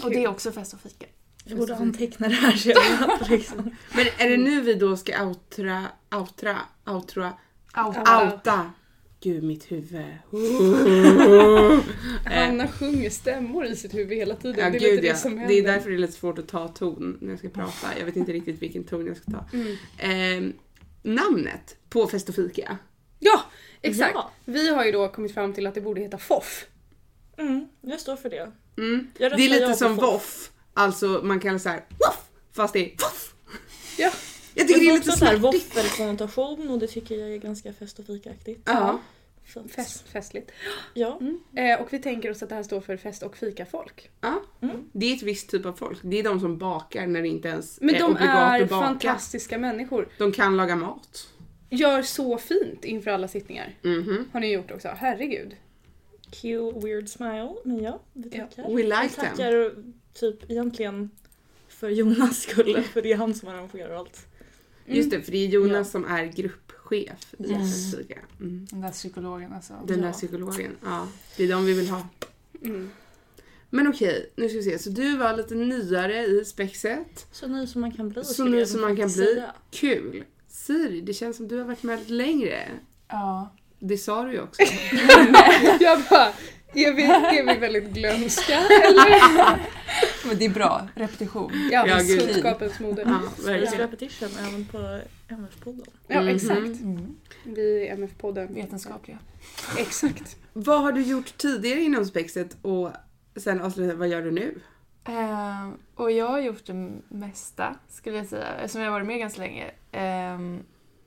[SPEAKER 4] Och det är också fest och fika.
[SPEAKER 3] Jag borde anteckna det här så jag vet liksom.
[SPEAKER 1] Men är det nu vi då ska outra, outra, outra,
[SPEAKER 2] Ja.
[SPEAKER 1] outa? Gud, mitt huvud.
[SPEAKER 2] Hanna sjunger stämmor i sitt huvud hela tiden.
[SPEAKER 1] Eh. Ja,
[SPEAKER 2] det är
[SPEAKER 1] gud,
[SPEAKER 2] lite
[SPEAKER 1] ja.
[SPEAKER 2] det som händer.
[SPEAKER 1] det är därför det är lite svårt att ta ton när jag ska prata. Jag vet inte riktigt vilken ton jag ska ta.
[SPEAKER 2] Mm.
[SPEAKER 1] Ehm, namnet på Fest och fika.
[SPEAKER 2] Ja, exakt.
[SPEAKER 3] Ja.
[SPEAKER 2] Vi har ju då kommit fram till att det borde heta FOFF.
[SPEAKER 3] Mm, jag står för det.
[SPEAKER 1] Mm.
[SPEAKER 3] Jag
[SPEAKER 1] Det är
[SPEAKER 3] röstar ja
[SPEAKER 1] lite
[SPEAKER 3] på
[SPEAKER 1] som
[SPEAKER 3] folk.
[SPEAKER 1] voff. Alltså man kan så här voff fast det är voff.
[SPEAKER 2] Ja.
[SPEAKER 1] Jag tycker det är
[SPEAKER 3] Men
[SPEAKER 1] lite
[SPEAKER 3] också så här
[SPEAKER 1] snarvigt.
[SPEAKER 3] våffelkonnotation och det tycker jag är ganska fest och fikaaktigt.
[SPEAKER 1] Ja. Mm.
[SPEAKER 3] Så att-
[SPEAKER 2] Fest, festligt.
[SPEAKER 3] Ja.
[SPEAKER 2] Eh, och vi tänker oss att det här står för fest och fikafolk.
[SPEAKER 1] ja.
[SPEAKER 3] Mm.
[SPEAKER 1] Det är ett visst typ av folk. Det är de som bakar när det inte ens
[SPEAKER 2] Men
[SPEAKER 1] är
[SPEAKER 2] de
[SPEAKER 1] obligat
[SPEAKER 2] är
[SPEAKER 1] att baka.
[SPEAKER 2] fantastiska människor.
[SPEAKER 1] De kan laga mat.
[SPEAKER 2] Gör så fint inför alla sittningar.
[SPEAKER 1] Mhm.
[SPEAKER 2] Har ni gjort också. Herregud.
[SPEAKER 3] Cue weird smile. Men ja, vi
[SPEAKER 2] Ja.
[SPEAKER 3] tackar.
[SPEAKER 1] We
[SPEAKER 3] Vi
[SPEAKER 1] like them.
[SPEAKER 3] tackar typ egentligen för Jonas skull, för det är han som arrangerar allt.
[SPEAKER 1] Mm. Just det, för det är Jonas
[SPEAKER 3] Ja.
[SPEAKER 1] som är gruppchef i
[SPEAKER 4] Mm. Yes.
[SPEAKER 1] Fest och fika. Mm.
[SPEAKER 4] Den där psykologen alltså.
[SPEAKER 1] Den där
[SPEAKER 4] Ja.
[SPEAKER 1] psykologen. Ja, det är de vi vill ha.
[SPEAKER 2] Mm.
[SPEAKER 1] Men okej, nu ska vi se. Så du var lite nyare i spexet.
[SPEAKER 3] Så ny som man kan bli.
[SPEAKER 1] Så
[SPEAKER 3] skulle
[SPEAKER 1] ny
[SPEAKER 3] jag
[SPEAKER 1] som man kan bli.
[SPEAKER 3] säga.
[SPEAKER 1] Kul! Siri, det känns som du har varit med lite längre.
[SPEAKER 4] Ja.
[SPEAKER 1] Det sa du ju också.
[SPEAKER 2] Jag bara, är vi, är vi väldigt glömska eller?
[SPEAKER 4] Men det är bra. Repetition.
[SPEAKER 2] Ja,
[SPEAKER 1] Ja, gud.
[SPEAKER 2] kunskapens moder.
[SPEAKER 1] Ja,
[SPEAKER 3] Space
[SPEAKER 1] verkligen.
[SPEAKER 3] repetition även på MF-podden.
[SPEAKER 2] Ja,
[SPEAKER 1] Mhm.
[SPEAKER 2] exakt.
[SPEAKER 4] Mm.
[SPEAKER 2] Vi är MF-podden.
[SPEAKER 4] Vetenskapliga.
[SPEAKER 2] Exakt.
[SPEAKER 1] Vad har du gjort tidigare inom spexet och sen avsluta, vad gör du nu?
[SPEAKER 4] Ehm, och jag har gjort det mesta skulle jag säga eftersom jag har varit med ganska länge. Ehm,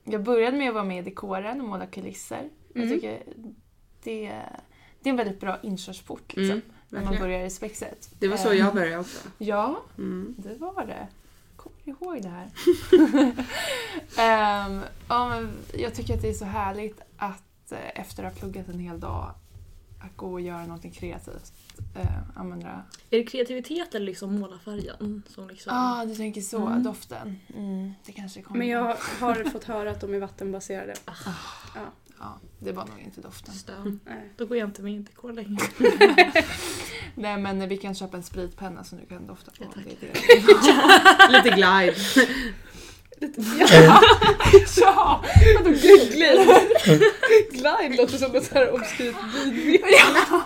[SPEAKER 4] jag började med att vara med i kåren och måla kulisser.
[SPEAKER 2] Mm.
[SPEAKER 4] Jag tycker det, det är en väldigt bra inkörsport liksom,
[SPEAKER 1] Mm,
[SPEAKER 4] när man
[SPEAKER 1] Verkligen.
[SPEAKER 4] börjar i spexet.
[SPEAKER 1] Det var så
[SPEAKER 4] Ehm,
[SPEAKER 1] jag började också.
[SPEAKER 4] Ja,
[SPEAKER 1] Mm.
[SPEAKER 4] det var det. Kommer ihåg det här. Ehm, ja, men jag tycker att det är så härligt att eh, efter att ha pluggat en hel dag att gå och göra någonting kreativt. Eh, använda
[SPEAKER 3] Är det kreativitet eller liksom målarfärgen som liksom...
[SPEAKER 4] Ja, ah, du tänker så.
[SPEAKER 3] Mm.
[SPEAKER 4] Doften. Mm, det kanske kommer.
[SPEAKER 2] Men jag har fått höra att de är vattenbaserade.
[SPEAKER 4] Ja, det var nog inte doften.
[SPEAKER 3] Stön.
[SPEAKER 2] Nej.
[SPEAKER 3] Då går jag inte med i INTK längre.
[SPEAKER 4] Nej, men vi kan köpa en spritpenna som du kan dofta på.
[SPEAKER 3] Ja,
[SPEAKER 4] om
[SPEAKER 3] tack.
[SPEAKER 4] det är det.
[SPEAKER 1] Lite glide.
[SPEAKER 2] Ja,
[SPEAKER 3] Eh.
[SPEAKER 4] ja! Vadå
[SPEAKER 2] glide. glide låter som ett så här obskyrt vinmedel.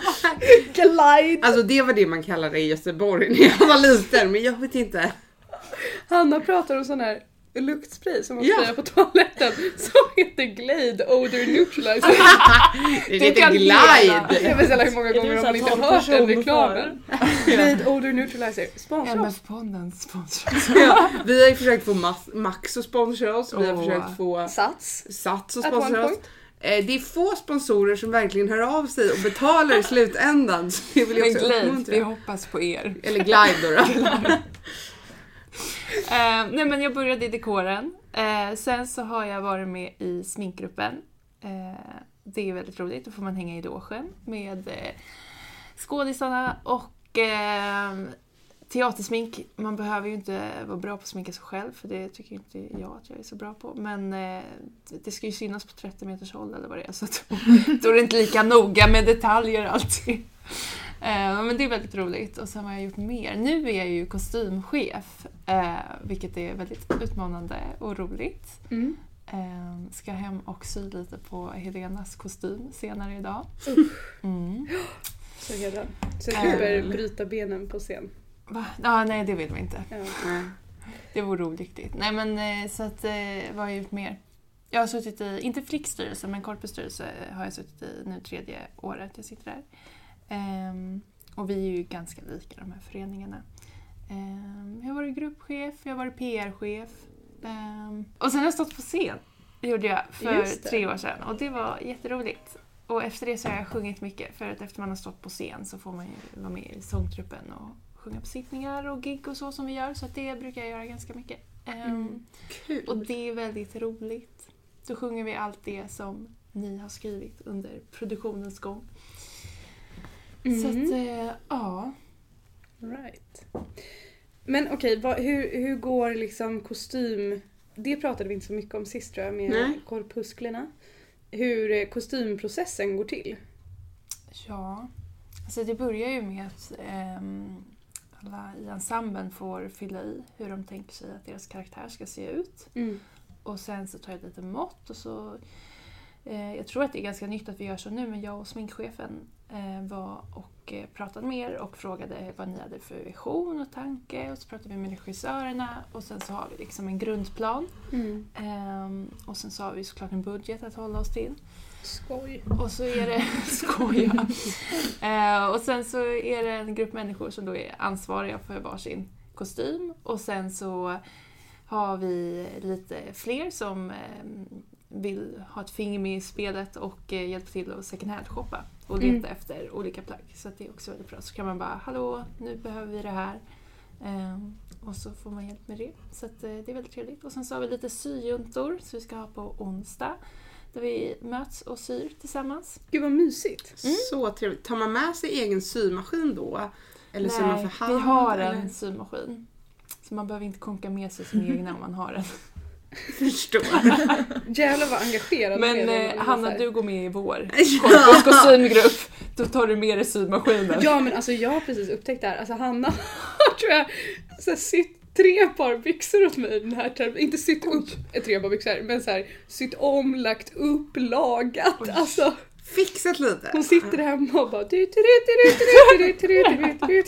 [SPEAKER 2] Glide.
[SPEAKER 1] Alltså det var det man kallade det i Göteborg när jag var liten men jag vet inte.
[SPEAKER 2] Hanna pratar om sån här luktspray som man
[SPEAKER 1] Ja.
[SPEAKER 2] sprayar på toaletten som heter Glade Odor Neutralizer.
[SPEAKER 1] Det
[SPEAKER 4] Du
[SPEAKER 1] heter
[SPEAKER 4] kan
[SPEAKER 1] glide.
[SPEAKER 4] leda.
[SPEAKER 2] Jag vet inte hur många
[SPEAKER 3] Ah. Är
[SPEAKER 2] gånger
[SPEAKER 3] det så
[SPEAKER 2] har man inte
[SPEAKER 3] här tolv
[SPEAKER 2] hört den
[SPEAKER 3] personer
[SPEAKER 2] reklamen. Glade Odor Neutralizer. Sponsra oss.
[SPEAKER 4] MF-podden sponsrar.
[SPEAKER 1] Ja, vi har ju försökt få Mas- Max att sponsra oss, vi har
[SPEAKER 4] Åh.
[SPEAKER 1] försökt få
[SPEAKER 2] Sats.
[SPEAKER 1] Sats att
[SPEAKER 2] At one
[SPEAKER 1] sponsra oss.
[SPEAKER 2] point.
[SPEAKER 1] Eh, Det är få sponsorer som verkligen hör av sig och betalar i slutändan. Så det vill jag
[SPEAKER 5] Men
[SPEAKER 1] också
[SPEAKER 5] Glade, vi
[SPEAKER 1] uppmuntra.
[SPEAKER 5] hoppas på er.
[SPEAKER 1] Eller Glide då. då.
[SPEAKER 4] Eh, nej men jag började i dekoren. Eh, sen så har jag varit med i sminkgruppen. Eh, det är väldigt roligt, då får man hänga i logen med eh, skådisarna och eh, teatersmink. Man behöver ju inte vara bra på att sminka sig själv för det tycker inte jag att jag är så bra på. Men eh, det ska ju synas på 30 meters håll eller vad det är så att, då är det inte lika noga med detaljer alltid. Eh, men det är väldigt roligt. Och sen har jag gjort mer. Nu är jag ju kostymchef, eh, vilket är väldigt utmanande och roligt.
[SPEAKER 2] Mm.
[SPEAKER 4] Eh, ska hem och sy lite på Helenas kostym senare idag. Mm.
[SPEAKER 2] Så hedrad. Så
[SPEAKER 4] Kul.
[SPEAKER 2] jag slipper bryta benen på scen.
[SPEAKER 4] Va? Ja, nej, det vill vi inte.
[SPEAKER 2] Ja.
[SPEAKER 4] Det vore olyckligt. Nej, men eh, så att, eh, vad har jag gjort mer? Jag har suttit i, inte Flicks styrelse, men Korpens styrelse har jag suttit i nu tredje året jag sitter där. Ehm, och vi är ju ganska lika de här föreningarna. Ehm, jag har varit gruppchef, jag har varit PR-chef. Ehm, och sen har jag stått på scen. Det gjorde jag
[SPEAKER 2] Just
[SPEAKER 4] för
[SPEAKER 2] det.
[SPEAKER 4] tre år sedan och det var jätteroligt. Och efter det så har jag sjungit mycket för att efter man har stått på scen så får man ju vara med i sångtruppen och sjunga på sittningar och gig och så som vi gör så att det brukar jag göra ganska mycket. Ehm, och det är väldigt roligt. Då sjunger vi allt det som ni har skrivit under produktionens gång.
[SPEAKER 2] Mm.
[SPEAKER 4] Så att, eh, ja.
[SPEAKER 2] Right. Men okej, vad- hur, hur går liksom kostym... Det pratade vi inte så mycket om sist tror jag med
[SPEAKER 1] Nej.
[SPEAKER 2] korpusklerna. Hur eh, kostymprocessen går till.
[SPEAKER 4] Ja. Alltså det börjar ju med att ehm, alla i ensemblen får fylla i hur de tänker sig att deras karaktär ska se ut. Och sen så tar jag lite mått och så... Eh, jag tror att det är ganska nytt att vi gör så nu men jag och sminkchefen eh, var och eh, pratade med er och frågade vad ni hade för vision och tanke och så pratade vi med regissörerna och sen så har vi liksom en grundplan. Ehm, och sen så har vi såklart en budget att hålla oss till.
[SPEAKER 2] Skoj.
[SPEAKER 4] Och så är det... Skoja! Eh, och sen så är det en grupp människor som då är ansvariga för varsin kostym. Och sen så har vi lite fler som eh, vill ha ett finger med i spelet och eh, hjälpa till att second hand-shoppa och leta
[SPEAKER 2] Mm.
[SPEAKER 4] efter olika plagg. Så att det är också väldigt bra. Så kan man bara “Hallå, nu behöver vi det här” Eh, och så får man hjälp med det. Så att, eh, det är väldigt trevligt. Och sen så har vi lite syjuntor som vi ska ha på onsdag. Där vi möts och syr tillsammans.
[SPEAKER 2] Gud vad mysigt.
[SPEAKER 1] Så trevligt. Tar man med sig egen symaskin då? Eller syr man för hand?
[SPEAKER 4] vi har en
[SPEAKER 1] eller?
[SPEAKER 4] symaskin. Så man behöver inte konka med sig sina egna om man har en.
[SPEAKER 1] Förstår.
[SPEAKER 2] Jävlar vad engagerad du är
[SPEAKER 4] Men
[SPEAKER 2] när
[SPEAKER 4] eh,
[SPEAKER 2] man
[SPEAKER 4] Hanna,
[SPEAKER 2] läser.
[SPEAKER 4] du går med i vår
[SPEAKER 1] Ja.
[SPEAKER 4] kostymgrupp. Då tar du med dig symaskinen.
[SPEAKER 2] Ja men alltså jag har precis upptäckt det här. Alltså Hanna har tror jag så här, sytt tre par byxor åt mig den här termen. Inte sytt upp ett tre par byxor men så här, sytt om, lagt upp, lagat. Alltså
[SPEAKER 1] Fixat lite.
[SPEAKER 2] hon sitter hemma och bara du, du, du, du, du, du, du, du, du, du, du.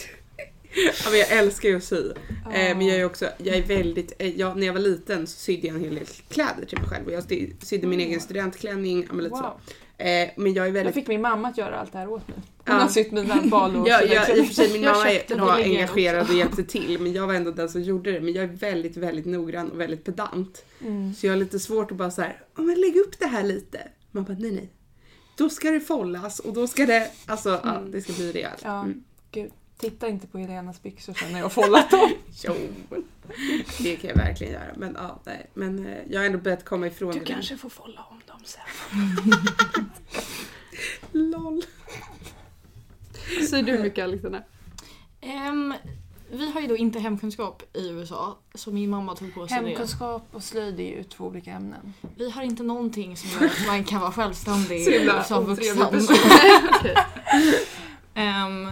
[SPEAKER 1] Ja, men jag älskar ju att sy.
[SPEAKER 4] Ja.
[SPEAKER 1] Eh, men jag är också, jag är väldigt, eh, jag, när jag var liten så sydde jag en hel del kläder till mig själv. Och Jag sy- sydde min
[SPEAKER 4] Mm.
[SPEAKER 1] egen studentklänning, ja, men lite
[SPEAKER 4] Wow.
[SPEAKER 1] så. Eh, men jag är
[SPEAKER 4] Jag
[SPEAKER 1] väldigt...
[SPEAKER 4] fick min mamma att göra allt det här åt mig. Hon
[SPEAKER 1] Ja.
[SPEAKER 4] har sytt mina bal och
[SPEAKER 1] Jag, jag, I och för sig, min
[SPEAKER 4] Jag
[SPEAKER 1] mamma
[SPEAKER 4] köpte
[SPEAKER 1] var
[SPEAKER 4] billigare
[SPEAKER 1] engagerad och hjälpte till men jag var ändå den som gjorde det. Men jag är väldigt, väldigt noggrann och väldigt pedant.
[SPEAKER 4] Mm.
[SPEAKER 1] Så jag har lite svårt att bara så här, "Ja, men lägg upp det här lite. Man bara, nej nej. Då ska det follas och då ska det, alltså ja,
[SPEAKER 2] Mm.
[SPEAKER 1] det ska bli rejält.
[SPEAKER 4] Ja,
[SPEAKER 1] Mm.
[SPEAKER 4] gud. Titta inte på Helenas byxor sen när jag har follat dem.
[SPEAKER 1] Jo, det kan jag verkligen göra. Men ja, nej. Men eh, jag har ändå börjat komma ifrån det. där.
[SPEAKER 5] får folla om dem sen.
[SPEAKER 1] LOL.
[SPEAKER 5] Säger du mycket Alexandra?
[SPEAKER 3] Ehm, vi har ju då inte hemkunskap i USA, så min mamma tog på sig
[SPEAKER 4] Hemkunskap och slöjd är ju två olika ämnen.
[SPEAKER 3] det. Vi har inte någonting som gör att man kan vara självständig
[SPEAKER 1] Så himla
[SPEAKER 3] som
[SPEAKER 1] otrevlig
[SPEAKER 3] vuxen.
[SPEAKER 1] person.
[SPEAKER 3] Ehm,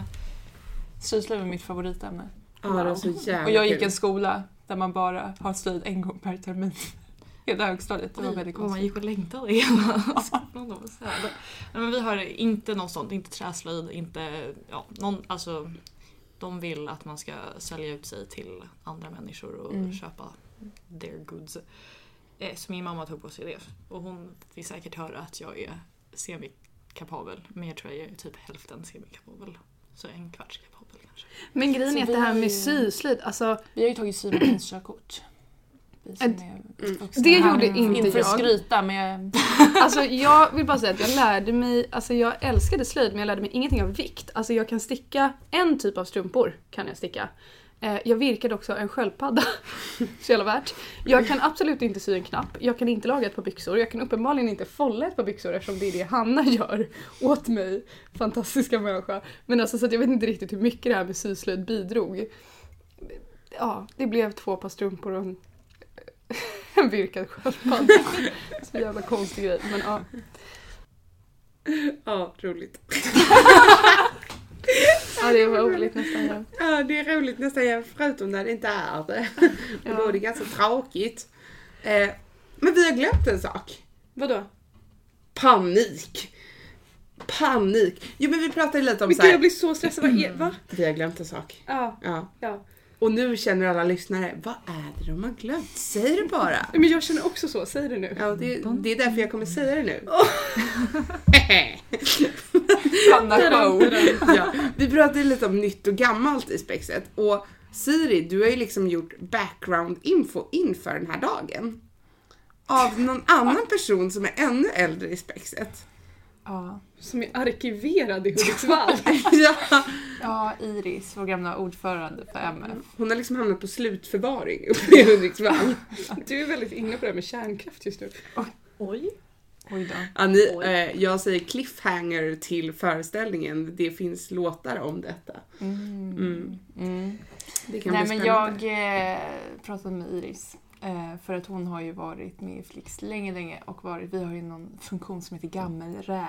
[SPEAKER 4] Syslöjd är mitt favoritämne.
[SPEAKER 1] Ja, det var så jävla
[SPEAKER 4] Och jag gick
[SPEAKER 1] kul.
[SPEAKER 4] en skola där man bara har slöjd en gång per termin. Hela högstadiet. Det var
[SPEAKER 3] Oj,
[SPEAKER 4] väldigt
[SPEAKER 3] vad man
[SPEAKER 4] konstigt.
[SPEAKER 3] gick och längtade i hela skolan. och så här. Nej, men vi har inte något sånt, inte träslöjd, inte ja, någon, alltså de vill att man ska sälja ut sig till andra människor och
[SPEAKER 4] Mm.
[SPEAKER 3] köpa their goods. Eh, så min mamma tog på sig det och hon vill säkert höra att jag är semikapabel men jag tror jag är typ hälften semikapabel. Så en kvarts kapabel kanske.
[SPEAKER 5] Men grejen
[SPEAKER 4] Så
[SPEAKER 5] är att
[SPEAKER 4] vi
[SPEAKER 5] det
[SPEAKER 4] har
[SPEAKER 5] här
[SPEAKER 4] ju-
[SPEAKER 5] med syslöjd, alltså
[SPEAKER 4] Vi har ju tagit symaskinskörkort. i. Som
[SPEAKER 5] Ett-
[SPEAKER 4] är
[SPEAKER 1] Mm.
[SPEAKER 4] uppvuxna
[SPEAKER 5] Äh, Det
[SPEAKER 4] här.
[SPEAKER 5] gjorde inte
[SPEAKER 4] Inte för att
[SPEAKER 5] jag.
[SPEAKER 4] skryta men jag...
[SPEAKER 5] Alltså jag vill bara säga att jag lärde mig, alltså jag älskade slöjd men jag lärde mig ingenting av vikt. Alltså jag kan sticka en typ av strumpor, kan jag sticka. Eh, Jag virkade också en sköldpadda. Så jävla värt. Jag kan absolut inte sy en knapp, jag kan inte laga ett par byxor, jag kan uppenbarligen inte folla ett par byxor eftersom det är det Hanna gör åt mig. Fantastiska människa. Men alltså så att jag vet inte riktigt hur mycket det här med syslöjd bidrog. Ja, det blev två par strumpor och en, en virkad sköldpadda. Så jävla konstig grej. Men ja.
[SPEAKER 1] Ja, roligt.
[SPEAKER 5] Ja, det var roligt nästan. Ja.
[SPEAKER 1] Ja, det är roligt nästan jämt förutom när det inte är det. Och då är det ganska tråkigt. Eh, men vi har glömt en sak.
[SPEAKER 2] Vadå?
[SPEAKER 1] Panik. Panik. Jo men vi pratade lite om
[SPEAKER 2] Men
[SPEAKER 1] så
[SPEAKER 2] gud jag
[SPEAKER 1] här.
[SPEAKER 2] blir så stressad. Vad är,
[SPEAKER 5] Mm.
[SPEAKER 2] va?
[SPEAKER 1] Vi har glömt en sak.
[SPEAKER 2] Ja,
[SPEAKER 1] Ja.
[SPEAKER 2] ja.
[SPEAKER 1] Och nu känner alla lyssnare, vad är det de har glömt? Säg det bara.
[SPEAKER 2] Men jag känner också så, säg det nu.
[SPEAKER 1] Ja, det, det är därför jag kommer säga det nu.
[SPEAKER 4] Hanna Show.
[SPEAKER 1] ja, vi pratade lite om nytt och gammalt i spexet och Siri, du har ju liksom gjort background-info inför den här dagen. Av någon annan person som är ännu äldre i spexet.
[SPEAKER 4] Ja.
[SPEAKER 2] Som är arkiverad i Hudiksvall.
[SPEAKER 1] ja,
[SPEAKER 4] ja, Iris, vår gamla ordförande för MF.
[SPEAKER 1] hon har liksom hamnat på slutförvaring uppe i Hudiksvall.
[SPEAKER 2] Du är väldigt inne på det här med kärnkraft just nu.
[SPEAKER 3] Oj.
[SPEAKER 4] Oj då.
[SPEAKER 1] Ja, ni, eh, jag säger cliffhanger till föreställningen. Det finns låtar om detta. Mm.
[SPEAKER 4] Mm.
[SPEAKER 1] Det kan
[SPEAKER 4] Nej
[SPEAKER 1] bli
[SPEAKER 4] men
[SPEAKER 1] spännande.
[SPEAKER 4] jag eh, pratade med Iris. Eh, för att hon har ju varit med i Flix länge, länge och varit, vi har ju någon funktion som heter gammelräv.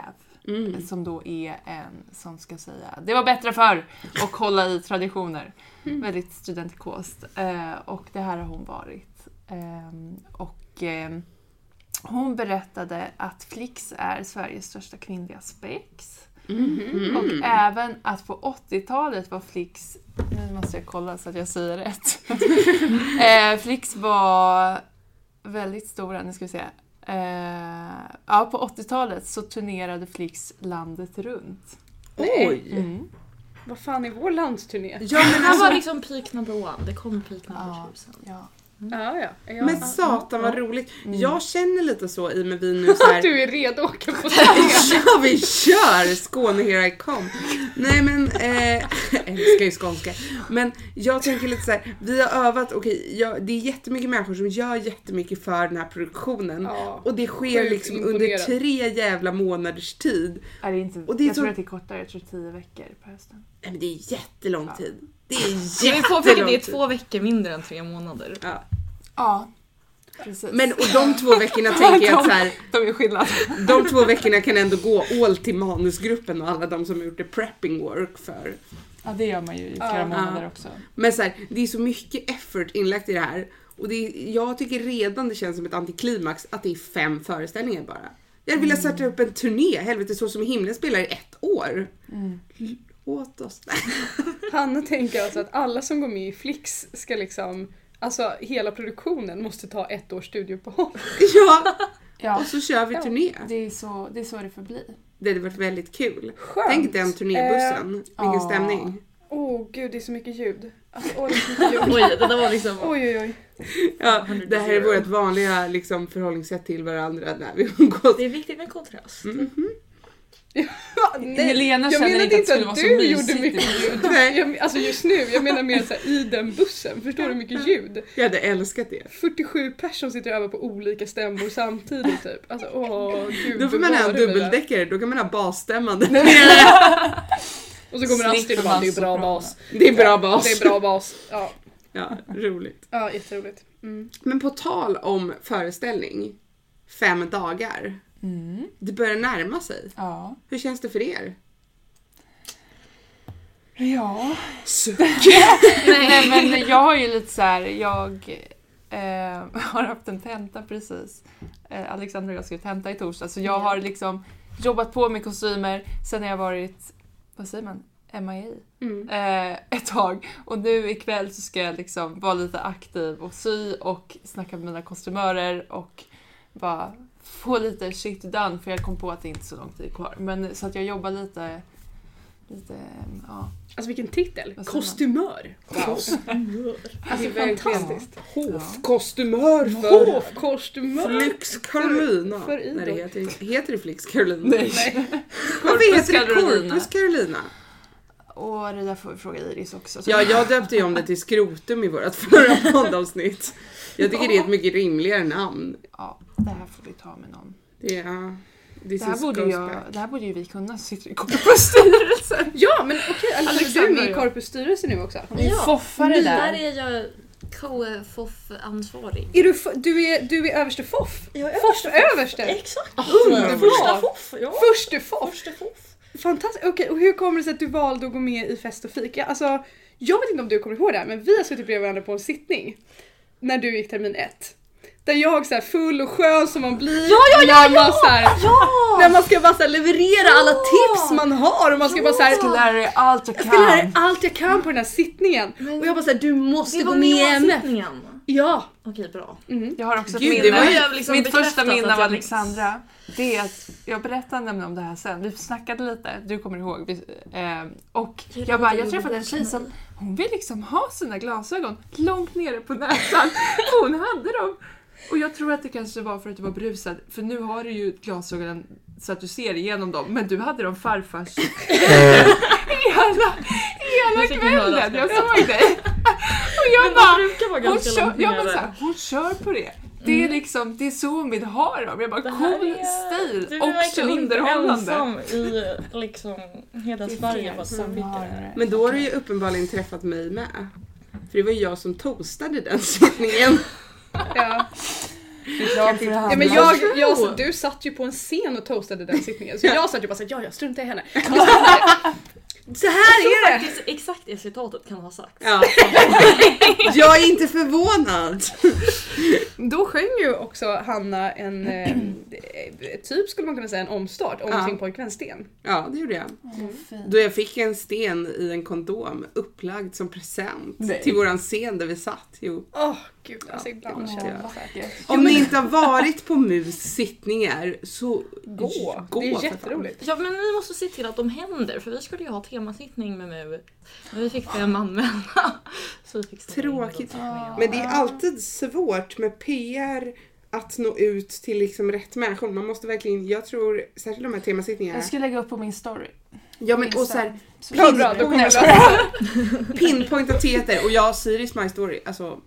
[SPEAKER 1] Mm.
[SPEAKER 4] Som då är en som ska säga det var bättre förr och hålla i traditioner. Väldigt studentikost. Eh, och det här har hon varit. Ehm, och ehm, hon berättade att Flix är Sveriges största kvinnliga spex.
[SPEAKER 1] Mm.
[SPEAKER 4] Och eh, även att på 80-talet var Flix, nu måste jag kolla så att jag säger rätt. eh, Flix var väldigt stora, nu ska vi se. Eh, ja, på 80-talet så turnerade Flix landet runt.
[SPEAKER 1] Oj!
[SPEAKER 4] Mm.
[SPEAKER 2] Vad fan är vår
[SPEAKER 5] Mm.
[SPEAKER 2] landsturné?
[SPEAKER 1] Ja men
[SPEAKER 3] Det här
[SPEAKER 1] alltså,
[SPEAKER 3] var liksom peak number one, det kom peak number
[SPEAKER 4] Ja.
[SPEAKER 3] two sen.
[SPEAKER 4] Ja.
[SPEAKER 2] Ja, ja. ja.
[SPEAKER 1] men satan vad roligt. Jag känner lite så i och med vi nu så här.
[SPEAKER 2] Du är redo att åka på turné.
[SPEAKER 1] Ja vi kör! Skåne here I come. Nej men, eh, jag älskar ju skånska. Men jag tänker lite så här, vi har övat, okej jag, det är jättemycket människor som gör jättemycket för den här produktionen.
[SPEAKER 2] Ja.
[SPEAKER 1] Och det sker
[SPEAKER 2] Sjukt
[SPEAKER 1] liksom under
[SPEAKER 2] imponerad.
[SPEAKER 1] tre jävla månaders tid.
[SPEAKER 4] Är det inte,
[SPEAKER 1] Och det är
[SPEAKER 4] jag
[SPEAKER 1] så-
[SPEAKER 4] tror att det är kortare, jag tror tio veckor på hösten.
[SPEAKER 1] Nej men det är jättelång
[SPEAKER 4] Ja.
[SPEAKER 1] tid. Det är
[SPEAKER 3] Ska vi påpeka
[SPEAKER 1] jättelång
[SPEAKER 3] att det är
[SPEAKER 1] tid.
[SPEAKER 3] två veckor mindre än tre månader?
[SPEAKER 1] Ja.
[SPEAKER 4] Ja, precis.
[SPEAKER 1] Men och de två veckorna tänker jag att så här,
[SPEAKER 4] de är skillnad.
[SPEAKER 1] de två veckorna kan ändå gå all till manusgruppen och alla de som har gjort det prepping work för
[SPEAKER 4] Ja, det gör man ju i
[SPEAKER 2] Ja.
[SPEAKER 4] flera månader
[SPEAKER 1] Ja.
[SPEAKER 4] också.
[SPEAKER 1] Men så här, det är så mycket effort inlagt i det här. Och det är, jag tycker redan det känns som ett antiklimax att det är fem föreställningar bara. Jag vill mm. starta upp en turné, helvete så som i himlen spelar i ett år.
[SPEAKER 4] Mm.
[SPEAKER 1] L- Åt oss.
[SPEAKER 2] Hanna tänker alltså att alla som går med i Flix ska liksom, alltså hela produktionen måste ta ett års studieuppehåll.
[SPEAKER 1] ja,
[SPEAKER 4] Ja,
[SPEAKER 1] och så kör vi turné.
[SPEAKER 4] det är så det, är så det får bli.
[SPEAKER 1] Det hade varit väldigt kul.
[SPEAKER 2] Skönt.
[SPEAKER 1] Tänk den turnébussen. Vilken
[SPEAKER 4] Eh, ja.
[SPEAKER 1] stämning.
[SPEAKER 2] Åh oh, gud, det är så mycket ljud. Alltså, åh, det är så mycket ljud.
[SPEAKER 3] Oj, det där var liksom...
[SPEAKER 2] Oj, oj, oj.
[SPEAKER 1] Ja, det här är vårt vanliga liksom, förhållningssätt till varandra när vi umgås.
[SPEAKER 3] Det är viktigt med kontrast.
[SPEAKER 4] Helena
[SPEAKER 2] jag
[SPEAKER 4] känner
[SPEAKER 2] menade
[SPEAKER 4] inte att det
[SPEAKER 2] inte
[SPEAKER 4] skulle
[SPEAKER 2] att du
[SPEAKER 4] vara så
[SPEAKER 2] gjorde
[SPEAKER 4] mysigt.
[SPEAKER 2] mycket ljud.
[SPEAKER 1] Nej.
[SPEAKER 2] Jag, alltså just nu, jag menar mer så här, i den bussen. Förstår du hur mycket ljud?
[SPEAKER 1] Jag hade älskat det.
[SPEAKER 2] 47 personer sitter och övar på olika stämmor samtidigt typ. Alltså åh gud.
[SPEAKER 1] Då får man ha en
[SPEAKER 2] bevare mig där.
[SPEAKER 1] dubbeldäckare, då kan man ha basstämmande.
[SPEAKER 2] Och så kommer
[SPEAKER 4] Slipper
[SPEAKER 2] Astrid och bara det
[SPEAKER 4] man
[SPEAKER 2] är bra
[SPEAKER 4] sopranen.
[SPEAKER 2] bas.
[SPEAKER 1] Det är bra bas.
[SPEAKER 2] Det är bra bas. Ja,
[SPEAKER 1] Ja, roligt.
[SPEAKER 2] ja jätteroligt. Mm.
[SPEAKER 1] Men på tal om föreställning, fem dagar.
[SPEAKER 4] Mm,
[SPEAKER 1] Det börjar närma sig.
[SPEAKER 4] ja.
[SPEAKER 1] Hur känns det för er?
[SPEAKER 4] 哎 Ja.
[SPEAKER 1] Suck.
[SPEAKER 4] Nej men jag har ju lite så här, jag eh, har haft en tenta precis. Eh, Alexander och jag skrev tenta i torsdag så jag har liksom jobbat på med kostymer sen har jag varit, vad säger man, MIA
[SPEAKER 2] Mm.
[SPEAKER 4] eh, ett tag. Och nu ikväll så ska jag liksom vara lite aktiv och sy och snacka med mina kostymörer och bara få lite shit done för jag kom på att det inte är så lång tid kvar. Men så att jag jobbar lite lite, eh, ja.
[SPEAKER 2] Alltså vilken titel!
[SPEAKER 4] Vad säger man?
[SPEAKER 2] Kostymör! Wow.
[SPEAKER 3] Mm.
[SPEAKER 2] Alltså
[SPEAKER 3] Det är verkligen-
[SPEAKER 2] fantastiskt.
[SPEAKER 1] Hofkostymör för...
[SPEAKER 2] Hovkostymör!
[SPEAKER 1] Flix Carolina.
[SPEAKER 2] för idol.
[SPEAKER 1] Nej, det heter, heter det Flix Carolina?
[SPEAKER 4] Nej.
[SPEAKER 1] Varför heter det
[SPEAKER 3] Carolina.
[SPEAKER 1] Corpus Carolina?
[SPEAKER 4] Och det där får vi fråga Iris också. Så-
[SPEAKER 1] Ja, jag döpte ju om det till Skrotum i vårt förra poddavsnitt. Jag tycker det är ett mycket rimligare namn.
[SPEAKER 4] ja, det här får vi ta med någon.
[SPEAKER 1] Det är... ja, This
[SPEAKER 4] Det här,
[SPEAKER 1] is
[SPEAKER 4] borde
[SPEAKER 1] goes
[SPEAKER 4] jag,
[SPEAKER 1] back.
[SPEAKER 4] det här borde ju vi kunna. Sitter i korpusstyrelsen.
[SPEAKER 2] Ja men okej, Alexander Alltså, du är med i
[SPEAKER 5] ja.
[SPEAKER 2] Korpus styrelse nu också.
[SPEAKER 4] Du är foffare
[SPEAKER 3] Där
[SPEAKER 4] där.
[SPEAKER 3] är jag KFOF-ansvarig.
[SPEAKER 2] Är du, fo- du, är, du är överste FOFF?
[SPEAKER 3] Jag
[SPEAKER 2] Först överste?
[SPEAKER 3] Exakt!
[SPEAKER 2] Underbart!
[SPEAKER 3] FOF! Ja.
[SPEAKER 2] Förste FOFF!
[SPEAKER 3] Första FOF!
[SPEAKER 2] Fantastiskt! Okej, och hur kommer det sig att du valde att gå med i Fest och fika? Alltså, jag vet inte om du kommer ihåg det här, men vi har suttit bredvid varandra på en sittning. När du gick termin ett. Där jag så här full och skön som man blir. Ja, ja, ja! När man, så här, när man ska bara så här leverera alla tips man har och man ska bara så här,
[SPEAKER 4] Jag ska lära dig allt jag
[SPEAKER 2] jag ska lära dig
[SPEAKER 4] kan.
[SPEAKER 2] allt jag kan på den här sittningen. och jag bara såhär, du måste
[SPEAKER 3] Det
[SPEAKER 2] gå
[SPEAKER 3] var
[SPEAKER 2] med i MF.
[SPEAKER 3] meningssittningen.
[SPEAKER 2] Ja, Mm,
[SPEAKER 3] Okej, bra.
[SPEAKER 4] Jag har också ett
[SPEAKER 1] Gud, det
[SPEAKER 4] minne.
[SPEAKER 1] var ju
[SPEAKER 3] jag liksom
[SPEAKER 4] Mitt första
[SPEAKER 3] bekräftat
[SPEAKER 4] minne
[SPEAKER 3] att
[SPEAKER 4] av
[SPEAKER 3] jag-
[SPEAKER 4] Alexandra, det är att jag berättade nämligen om det här sen, vi snackade lite, du kommer ihåg. Vi, eh, och jag bara, jag träffade en tjej som, hon vill liksom ha sina glasögon långt nere på näsan. Hon hade dem. Och jag tror att det kanske var för att du var brusad, för nu har du ju glasögonen så att du ser igenom dem, men du hade dem farfars hela, hela
[SPEAKER 3] Jag fick en
[SPEAKER 4] kvällen. Jag såg dig. Och jag
[SPEAKER 3] Men de
[SPEAKER 4] bara,
[SPEAKER 3] brukar vara
[SPEAKER 4] hon
[SPEAKER 3] ganska
[SPEAKER 4] kör,
[SPEAKER 3] långt
[SPEAKER 4] ja, men
[SPEAKER 3] nere.
[SPEAKER 4] så här, hon kör på det. Det är liksom, det är så hon vill ha dem. Jag bara
[SPEAKER 3] Mm. Det här
[SPEAKER 4] cool
[SPEAKER 3] är- Du
[SPEAKER 4] stil,
[SPEAKER 3] är
[SPEAKER 4] också
[SPEAKER 3] verkligen inte
[SPEAKER 4] underhållande.
[SPEAKER 3] ensam i liksom hela Sverige på att samtycka.
[SPEAKER 1] Men då har du ju uppenbarligen träffat mig med. För det var ju jag som toastade den sittningen.
[SPEAKER 2] ja.
[SPEAKER 4] Ja,
[SPEAKER 2] Ja, men jag, jag, så, du satt ju på en scen och toastade den sittningen så jag satt ju bara såhär, ja jag struntar i henne. Du satt där. Så här är det!
[SPEAKER 3] Faktiskt exakt det citatet kan ha sagt.
[SPEAKER 1] Ja. Jag är inte förvånad.
[SPEAKER 2] Då sjöng ju också Hanna en, eh, eh, typ skulle man kunna säga en omstart om
[SPEAKER 1] Ja.
[SPEAKER 2] sin pojkvän Sten.
[SPEAKER 1] Ja, det gjorde jag. Då jag fick en sten i en kondom upplagd som present
[SPEAKER 4] Nej.
[SPEAKER 1] till våran scen där vi satt. Jo.
[SPEAKER 2] Åh gud, alltså ibland
[SPEAKER 1] måste
[SPEAKER 2] känner jag
[SPEAKER 1] jag.
[SPEAKER 2] så här.
[SPEAKER 1] Om ni inte har varit på MUS sittningar så
[SPEAKER 2] Gå!
[SPEAKER 1] gå för
[SPEAKER 2] det är
[SPEAKER 1] fan.
[SPEAKER 2] jätteroligt.
[SPEAKER 3] Ja men vi måste se till att de händer för vi skulle ju ha temasittning med MU. Men vi fick det anmälda. Så vi fick ställa in den
[SPEAKER 1] Tråkigt.
[SPEAKER 3] sittningen.
[SPEAKER 1] Men det är alltid svårt med PR att nå ut till liksom rätt människor. Man måste verkligen, jag tror, särskilt de här temasittningarna.
[SPEAKER 4] Jag ska lägga upp på min story.
[SPEAKER 1] Ja men och såhär
[SPEAKER 4] Så-
[SPEAKER 1] Bra,
[SPEAKER 2] bra, då kommer
[SPEAKER 4] Nej,
[SPEAKER 2] jag
[SPEAKER 4] jag skojar.
[SPEAKER 1] pinpointa teter och jag och Siris My Story, alltså,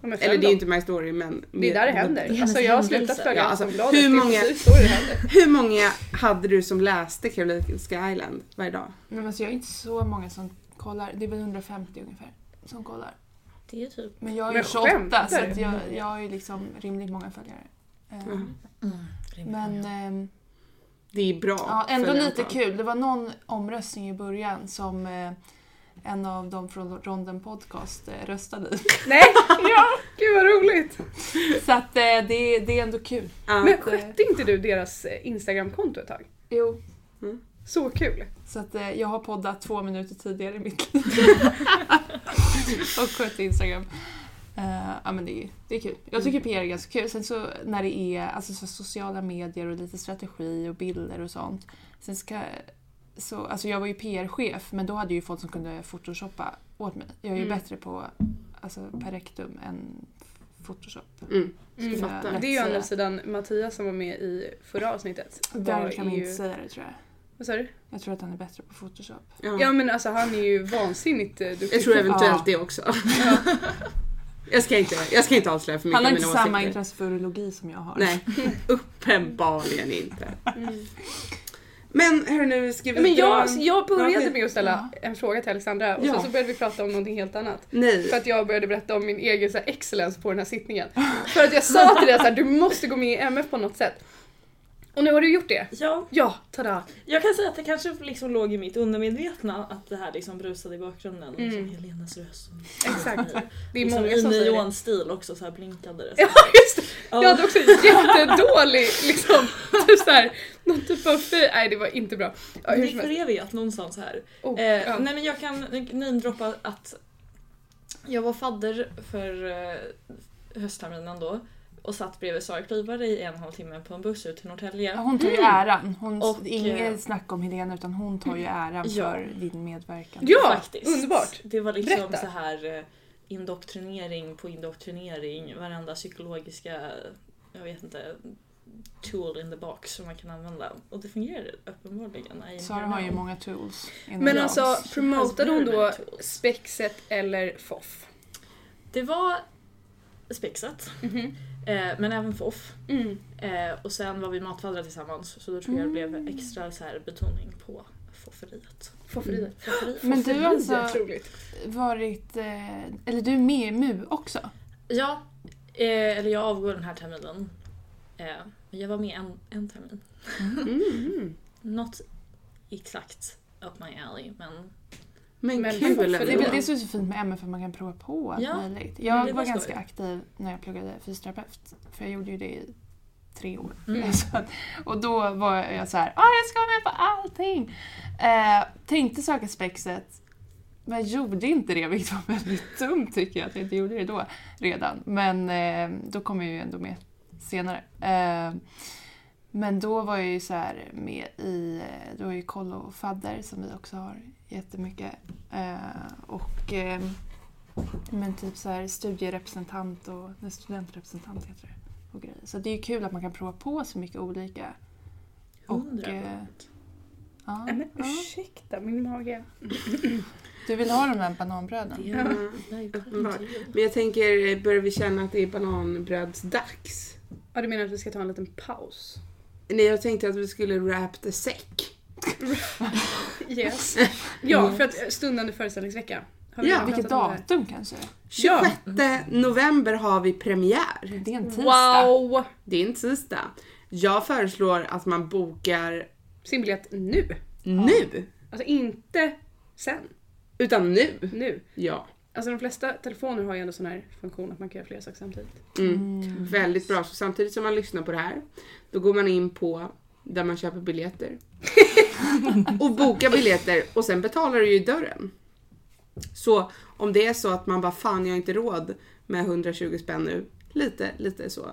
[SPEAKER 2] Ja, men
[SPEAKER 1] eller det är ju inte My Story men.
[SPEAKER 2] det är där det händer. Alltså jag har slutat
[SPEAKER 1] Ja,
[SPEAKER 2] följa
[SPEAKER 1] alltså,
[SPEAKER 2] Aftonbladet.
[SPEAKER 1] hur
[SPEAKER 2] Det är
[SPEAKER 1] många-
[SPEAKER 2] precis då det händer.
[SPEAKER 1] Hur många hade du som läste Karolinska Island varje dag?
[SPEAKER 4] Nej, men så jag är inte så många som kollar, det är väl 150 ungefär som kollar.
[SPEAKER 3] Det är ju typ...
[SPEAKER 4] Men jag är ju
[SPEAKER 2] Men
[SPEAKER 4] 28 så
[SPEAKER 2] skämtar du?
[SPEAKER 4] att jag, jag har ju liksom rimligt många följare. Eh,
[SPEAKER 1] Mm.
[SPEAKER 4] Men
[SPEAKER 2] eh,
[SPEAKER 4] ehm,
[SPEAKER 1] Det är bra.
[SPEAKER 4] Ja, ändå
[SPEAKER 1] följer
[SPEAKER 4] lite
[SPEAKER 1] jag.
[SPEAKER 4] kul. Det var någon omröstning i början som eh, en av dem från Ronden Podcast eh, röstade i.
[SPEAKER 2] Nej! Ja, gud vad roligt!
[SPEAKER 4] Så att eh, det, det är ändå kul.
[SPEAKER 1] Ja.
[SPEAKER 2] Men skötte inte du deras eh, Instagramkonto ett tag?
[SPEAKER 4] Jo.
[SPEAKER 2] Så kul!
[SPEAKER 4] Så att eh, jag har poddat två minuter tidigare i mitt liv. och skött Instagram. Eh, ja men det är, det är kul. Jag tycker PR är ganska kul. Sen så när det är alltså, så sociala medier och lite strategi och bilder och sånt. Sen ska, så, alltså, jag var ju PR-chef men då hade jag ju folk som kunde photoshoppa åt mig. Jag är ju
[SPEAKER 2] Mm.
[SPEAKER 4] bättre på alltså, perektum än photoshop.
[SPEAKER 1] Mm.
[SPEAKER 4] skulle jag
[SPEAKER 1] fattar.
[SPEAKER 4] lätt
[SPEAKER 2] Det är ju å
[SPEAKER 4] säga.
[SPEAKER 2] andra sidan Mattias som var med i förra avsnittet.
[SPEAKER 4] Där
[SPEAKER 2] var
[SPEAKER 4] kan man
[SPEAKER 2] ju-
[SPEAKER 4] inte säga det tror jag.
[SPEAKER 2] Vad sa du?
[SPEAKER 4] Jag tror att han är bättre på photoshop.
[SPEAKER 1] Ja.
[SPEAKER 2] Ja men alltså han är ju vansinnigt eh, duktig.
[SPEAKER 1] Jag tror eventuellt
[SPEAKER 4] Ja.
[SPEAKER 1] det också. Jag ska inte, jag ska inte avslöja för mycket
[SPEAKER 4] Han har
[SPEAKER 1] av
[SPEAKER 4] inte
[SPEAKER 1] mina
[SPEAKER 4] samma
[SPEAKER 1] åsikter.
[SPEAKER 4] intresse för urologi som jag har.
[SPEAKER 1] Nej, uppenbarligen inte.
[SPEAKER 2] Mm.
[SPEAKER 1] Men hörru nu ska vi
[SPEAKER 2] Ja, Men
[SPEAKER 1] dra
[SPEAKER 2] jag,
[SPEAKER 1] en-
[SPEAKER 2] jag började
[SPEAKER 1] Ja.
[SPEAKER 2] med att ställa en fråga till Alexandra och
[SPEAKER 1] Ja.
[SPEAKER 2] sen så började vi prata om någonting helt annat.
[SPEAKER 1] Nej.
[SPEAKER 2] För att jag började berätta om min egen så här, excellence på den här sittningen. För att jag sa till dig att du måste gå med i MF på något sätt. Och nu har du gjort det.
[SPEAKER 3] Ja,
[SPEAKER 2] Ja, tada!
[SPEAKER 3] jag kan säga att det kanske liksom låg i mitt undermedvetna att det här liksom brusade i bakgrunden.
[SPEAKER 2] Mm.
[SPEAKER 3] Liksom Helenas röst.
[SPEAKER 2] Exakt. Det är
[SPEAKER 3] Liksom
[SPEAKER 2] många som
[SPEAKER 3] I
[SPEAKER 2] säger det.
[SPEAKER 3] neonstil också så här blinkade det.
[SPEAKER 2] Ja just det! Jag hade också jättedålig liksom, typ så här, någon typ av fej. Nej det var inte bra. Ja, hur
[SPEAKER 3] det
[SPEAKER 2] som helst.
[SPEAKER 3] förevigat någonstans här.
[SPEAKER 2] Oh,
[SPEAKER 3] Eh,
[SPEAKER 2] ja.
[SPEAKER 3] Nej men jag kan namedroppa att jag var fadder för eh, höstterminen då och satt bredvid Sara Klyvare i en och en halv timme på en buss ut till Norrtälje.
[SPEAKER 4] Hon tar ju äran. Hon,
[SPEAKER 3] Mm. Och, eh,
[SPEAKER 4] inget snack om Helena utan hon tar ju äran
[SPEAKER 3] Ja.
[SPEAKER 4] för din medverkan.
[SPEAKER 2] Ja,
[SPEAKER 3] faktiskt.
[SPEAKER 2] underbart.
[SPEAKER 3] Det var liksom
[SPEAKER 2] Berätta.
[SPEAKER 3] så här eh, indoktrinering på indoktrinering, varenda psykologiska, jag vet inte, tool in the box som man kan använda. Och det fungerade uppenbarligen. I
[SPEAKER 4] Sara
[SPEAKER 3] am
[SPEAKER 4] har ju
[SPEAKER 3] now.
[SPEAKER 4] många tools. inom
[SPEAKER 2] Men
[SPEAKER 4] dans.
[SPEAKER 2] alltså, promotade hon då
[SPEAKER 3] Has been
[SPEAKER 2] spexet eller foff?
[SPEAKER 3] Det var spexat, eh, men även foff.
[SPEAKER 2] Mm.
[SPEAKER 3] Eh, och sen var vi matfaddrar tillsammans så då tror jag det blev extra så här, betoning på fofferiet.
[SPEAKER 2] Fofferiet.
[SPEAKER 3] Fofferiet.
[SPEAKER 4] Men du har alltså
[SPEAKER 2] Otroligt.
[SPEAKER 4] varit... Eh, eller du är med i MU också?
[SPEAKER 3] Ja, eh, eller jag avgår den här terminen. Eh, men jag var med en, en termin.
[SPEAKER 1] Mm.
[SPEAKER 3] Något exakt up my alley men
[SPEAKER 1] Men,
[SPEAKER 2] Men
[SPEAKER 1] kul
[SPEAKER 2] varför
[SPEAKER 4] Det är väl
[SPEAKER 1] ändå.
[SPEAKER 4] det som är så fint med MF, att man kan prova på allt
[SPEAKER 3] Ja,
[SPEAKER 4] möjligt.
[SPEAKER 3] men
[SPEAKER 4] Jag
[SPEAKER 3] det
[SPEAKER 4] var
[SPEAKER 3] var
[SPEAKER 4] ganska
[SPEAKER 3] skoj.
[SPEAKER 4] aktiv när jag pluggade fysioterapeut, för jag gjorde ju det i tre år.
[SPEAKER 3] Mm.
[SPEAKER 4] Så att- och då var jag så här, "Ah, jag ska vara med på allting! Eh, tänkte söka spexet, men gjorde inte det, vilket var väldigt dumt tycker jag att jag inte gjorde det då redan. Men eh, då kom jag ju ändå med senare. Eh, men då var jag ju så här med i, eh, då är ju kollo och fadder som vi också har jättemycket. Eh, och eh, men typ så här studierepresentant och nej, studentrepresentant heter det. Och grejer. Så det är ju kul att man kan prova på så mycket olika. Och,
[SPEAKER 3] hundra.
[SPEAKER 4] eh, ja,
[SPEAKER 2] Nej, men
[SPEAKER 4] ja.
[SPEAKER 2] ursäkta min mage.
[SPEAKER 4] Du vill ha de där bananbröden?
[SPEAKER 3] Det är-
[SPEAKER 1] Ja.
[SPEAKER 3] det är
[SPEAKER 1] Uppenbart.
[SPEAKER 3] ju-
[SPEAKER 1] Men jag tänker, eh, börjar vi känna att det är bananbrödsdags?
[SPEAKER 2] Ja, du menar att vi ska ta en liten paus?
[SPEAKER 1] Nej, jag tänkte att vi skulle wrap the säck.
[SPEAKER 2] Yes. Ja, för att eh, stundande föreställningsvecka. Har vi
[SPEAKER 1] Ja,
[SPEAKER 2] redan
[SPEAKER 4] Vilket
[SPEAKER 2] pratat om det här?
[SPEAKER 4] datum kanske?
[SPEAKER 1] 26
[SPEAKER 2] Ja.
[SPEAKER 1] november har vi premiär.
[SPEAKER 4] Det är en tisdag.
[SPEAKER 2] Wow!
[SPEAKER 1] Det är en tisdag. Jag föreslår att man bokar
[SPEAKER 2] Sin biljett nu.
[SPEAKER 1] nu.
[SPEAKER 2] Alltså inte sen,
[SPEAKER 1] Utan nu.
[SPEAKER 2] nu.
[SPEAKER 1] Ja.
[SPEAKER 2] Alltså de flesta telefoner har ju ändå sån här funktion att man kan göra flera saker samtidigt.
[SPEAKER 1] Mm. Väldigt bra. Så samtidigt som man lyssnar på det här, då går man in på där man köper biljetter. och bokar biljetter och sen betalar du ju i dörren. Så om det är så att man bara fan jag har inte råd med 120 spänn nu, lite, lite så.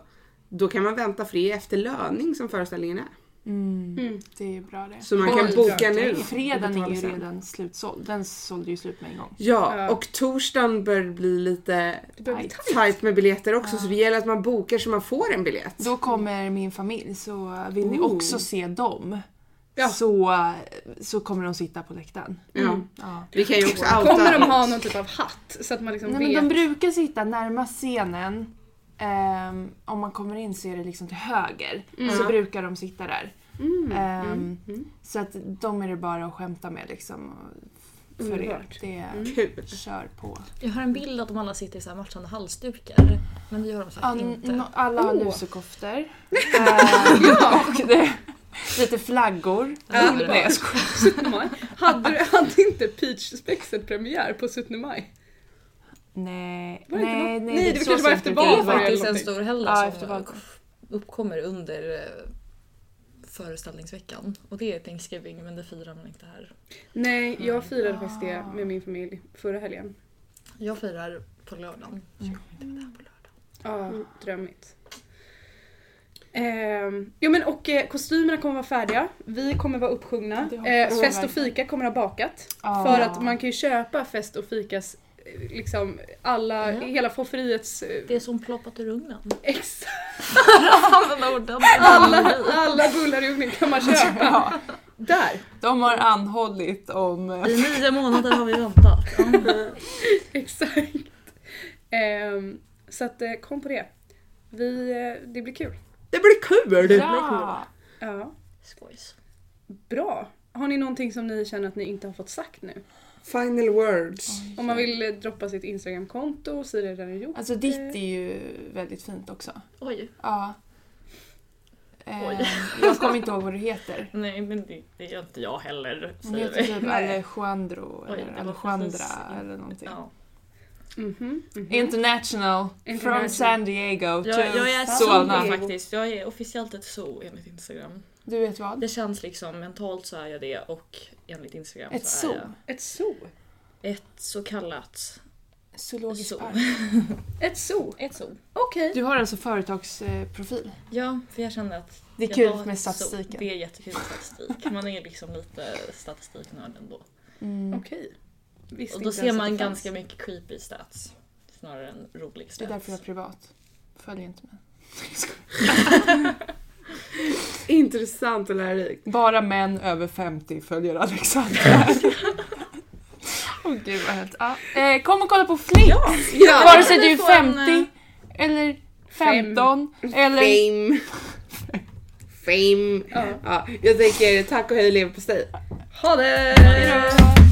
[SPEAKER 1] Då kan man vänta fri efter löning som föreställningen är.
[SPEAKER 4] Mm.
[SPEAKER 2] Mm.
[SPEAKER 4] Det är ju bra det.
[SPEAKER 1] Så man kan
[SPEAKER 2] Oj,
[SPEAKER 1] boka
[SPEAKER 2] bra.
[SPEAKER 1] nu.
[SPEAKER 4] Fredagen är
[SPEAKER 1] och betala
[SPEAKER 4] ju
[SPEAKER 1] sen.
[SPEAKER 4] redan slutsåld. Den sålde ju slut med en gång.
[SPEAKER 1] Ja,
[SPEAKER 2] Ja.
[SPEAKER 1] och torsdagen börjar bli lite
[SPEAKER 2] Det börjar bli
[SPEAKER 4] Aj.
[SPEAKER 2] tajt.
[SPEAKER 1] tajt med biljetter också
[SPEAKER 4] Ja.
[SPEAKER 1] så det gäller att man bokar så man får en biljett.
[SPEAKER 4] Då kommer min familj så vill ni
[SPEAKER 1] Ooh.
[SPEAKER 4] också se dem
[SPEAKER 2] Ja.
[SPEAKER 4] så, så kommer de sitta på läktaren. Mm.
[SPEAKER 1] Ja.
[SPEAKER 4] Ja.
[SPEAKER 1] Vi kan ju också outa...
[SPEAKER 2] Kommer de ha någon typ av hatt? Så att man liksom
[SPEAKER 4] Nej,
[SPEAKER 2] vet.
[SPEAKER 4] men de brukar sitta närmast scenen. Ehm, om man kommer in så är det liksom till höger. Så brukar de sitta där.
[SPEAKER 1] Mm.
[SPEAKER 4] Ehm,
[SPEAKER 1] mm.
[SPEAKER 4] Så att de är det bara att skämta med liksom. och- För er.
[SPEAKER 2] Underbart.
[SPEAKER 4] Det är
[SPEAKER 1] Kul.
[SPEAKER 4] kör på.
[SPEAKER 3] Jag har en bild att de alla sitter i så här matchande halsdukar. Men det gör de
[SPEAKER 4] Ja,
[SPEAKER 3] säkert inte.
[SPEAKER 4] n- alla har
[SPEAKER 2] Åh.
[SPEAKER 4] lusekoftor.
[SPEAKER 2] Eh,
[SPEAKER 4] Ehm, och det, lite flaggor.
[SPEAKER 2] Ja.
[SPEAKER 4] Nej, jag skojar.
[SPEAKER 2] Suttnemaj. Hade, du- hade inte Peach-spexet premiär på 17 maj?
[SPEAKER 4] Nej,
[SPEAKER 2] Var det inte
[SPEAKER 4] nej,
[SPEAKER 2] något- Nej, det
[SPEAKER 4] så
[SPEAKER 2] kanske var
[SPEAKER 4] sent
[SPEAKER 2] efter
[SPEAKER 4] inte.
[SPEAKER 3] Det är
[SPEAKER 2] valet.
[SPEAKER 4] var-
[SPEAKER 3] faktiskt en
[SPEAKER 2] någonting.
[SPEAKER 3] stor helg
[SPEAKER 4] Ja, efter
[SPEAKER 3] som
[SPEAKER 4] valet.
[SPEAKER 3] uppkommer under eh, föreställningsveckan. Och det är Thanksgiving men det firar man inte här.
[SPEAKER 4] Mm.
[SPEAKER 2] Nej, jag firade faktiskt det med min familj förra helgen.
[SPEAKER 3] Jag firar på lördagen. så jag kommer inte vara där på lördag.
[SPEAKER 2] Ja, Ah, drömmigt. Ehm, jo men och eh, kostymerna kommer vara färdiga. Vi kommer vara uppsjungna.
[SPEAKER 4] Det hoppas
[SPEAKER 2] Eh,
[SPEAKER 4] jag
[SPEAKER 2] fest och
[SPEAKER 4] verkligen.
[SPEAKER 2] fika kommer ha bakat.
[SPEAKER 4] Ja.
[SPEAKER 2] För att man kan ju köpa fest och fikas eh, liksom alla,
[SPEAKER 3] Ja.
[SPEAKER 2] hela fofferiets... eh,
[SPEAKER 3] Det är som ploppat ur ugnen.
[SPEAKER 2] Ex,
[SPEAKER 3] Använda orden.
[SPEAKER 2] alla, alla bullar i ugnen kan man köpa.
[SPEAKER 4] Ja,
[SPEAKER 2] Där!
[SPEAKER 4] de har anhållit om... eh,
[SPEAKER 3] I nio månader har vi väntat.
[SPEAKER 2] Exakt. Ehm, så att eh, kom på det. Vi, eh, det blir kul.
[SPEAKER 1] Det blir kul!
[SPEAKER 4] Ja.
[SPEAKER 2] Ja.
[SPEAKER 3] Skojs.
[SPEAKER 2] Bra. Har ni någonting som ni känner att ni inte har fått sagt nu?
[SPEAKER 1] Final words.
[SPEAKER 2] Om man vill eh, droppa sitt Instagram-konto så är det redan gjort.
[SPEAKER 4] Alltså ditt är ju väldigt fint också.
[SPEAKER 3] Oj.
[SPEAKER 4] Ja. Eh,
[SPEAKER 3] Oj.
[SPEAKER 4] jag kommer inte ihåg vad du heter.
[SPEAKER 3] Nej men det, det gör inte jag heller.
[SPEAKER 4] Hon
[SPEAKER 3] Säger
[SPEAKER 4] heter
[SPEAKER 3] vi.
[SPEAKER 4] typ
[SPEAKER 2] Nej.
[SPEAKER 4] Alejandro
[SPEAKER 3] Oj, det
[SPEAKER 4] eller
[SPEAKER 3] var precis
[SPEAKER 4] Alejandra
[SPEAKER 3] in-
[SPEAKER 4] eller någonting.
[SPEAKER 3] Ja.
[SPEAKER 2] Mhm, mhm.
[SPEAKER 4] International,
[SPEAKER 2] International.
[SPEAKER 4] from San Diego
[SPEAKER 3] Jag,
[SPEAKER 4] to
[SPEAKER 3] jag är ett
[SPEAKER 4] Solna.
[SPEAKER 3] zoo faktiskt. Jag är officiellt ett zoo enligt Instagram.
[SPEAKER 4] Du vet vad?
[SPEAKER 3] Det känns liksom mentalt så är jag det och enligt Instagram
[SPEAKER 4] Ett
[SPEAKER 3] så är
[SPEAKER 4] zoo?
[SPEAKER 3] jag
[SPEAKER 2] Ett zoo.
[SPEAKER 3] ett så kallat
[SPEAKER 4] Zoologisk
[SPEAKER 3] Zoo.
[SPEAKER 4] park.
[SPEAKER 2] Ett zoo.
[SPEAKER 3] Ett sol.
[SPEAKER 2] Okej.
[SPEAKER 4] Du har alltså företagsprofil.
[SPEAKER 3] Ja, för jag kände att...
[SPEAKER 4] Det är
[SPEAKER 3] jag
[SPEAKER 4] kul
[SPEAKER 3] var
[SPEAKER 4] med
[SPEAKER 3] ett zoo.
[SPEAKER 4] statistiken.
[SPEAKER 3] Det är jättekul med statistik. Man är liksom lite statistiknörd ändå.
[SPEAKER 4] Mm.
[SPEAKER 2] Okej. Visste
[SPEAKER 3] Och
[SPEAKER 2] inte
[SPEAKER 3] då
[SPEAKER 2] ens
[SPEAKER 3] ser
[SPEAKER 2] att
[SPEAKER 3] man
[SPEAKER 2] det fanns.
[SPEAKER 3] ganska mycket creepy stats. Snarare än rolig
[SPEAKER 4] Det är därför jag
[SPEAKER 3] stats.
[SPEAKER 4] är privat. Följer inte mig.
[SPEAKER 1] Intressant och lärorikt.
[SPEAKER 4] Bara män över 50 följer Alexandra. Åh gud vad hemskt. Ja. Eh, kom och kolla på Flix!
[SPEAKER 1] Ja!
[SPEAKER 4] Vare sig du är
[SPEAKER 3] Kan vi få en, eh,
[SPEAKER 4] 50 eller 15 eller...
[SPEAKER 1] Fame. Fame. Ja. jag tänker tack och hej leverpastej.
[SPEAKER 2] Ha det!
[SPEAKER 3] Eh,
[SPEAKER 1] Eh,
[SPEAKER 4] Hejdå.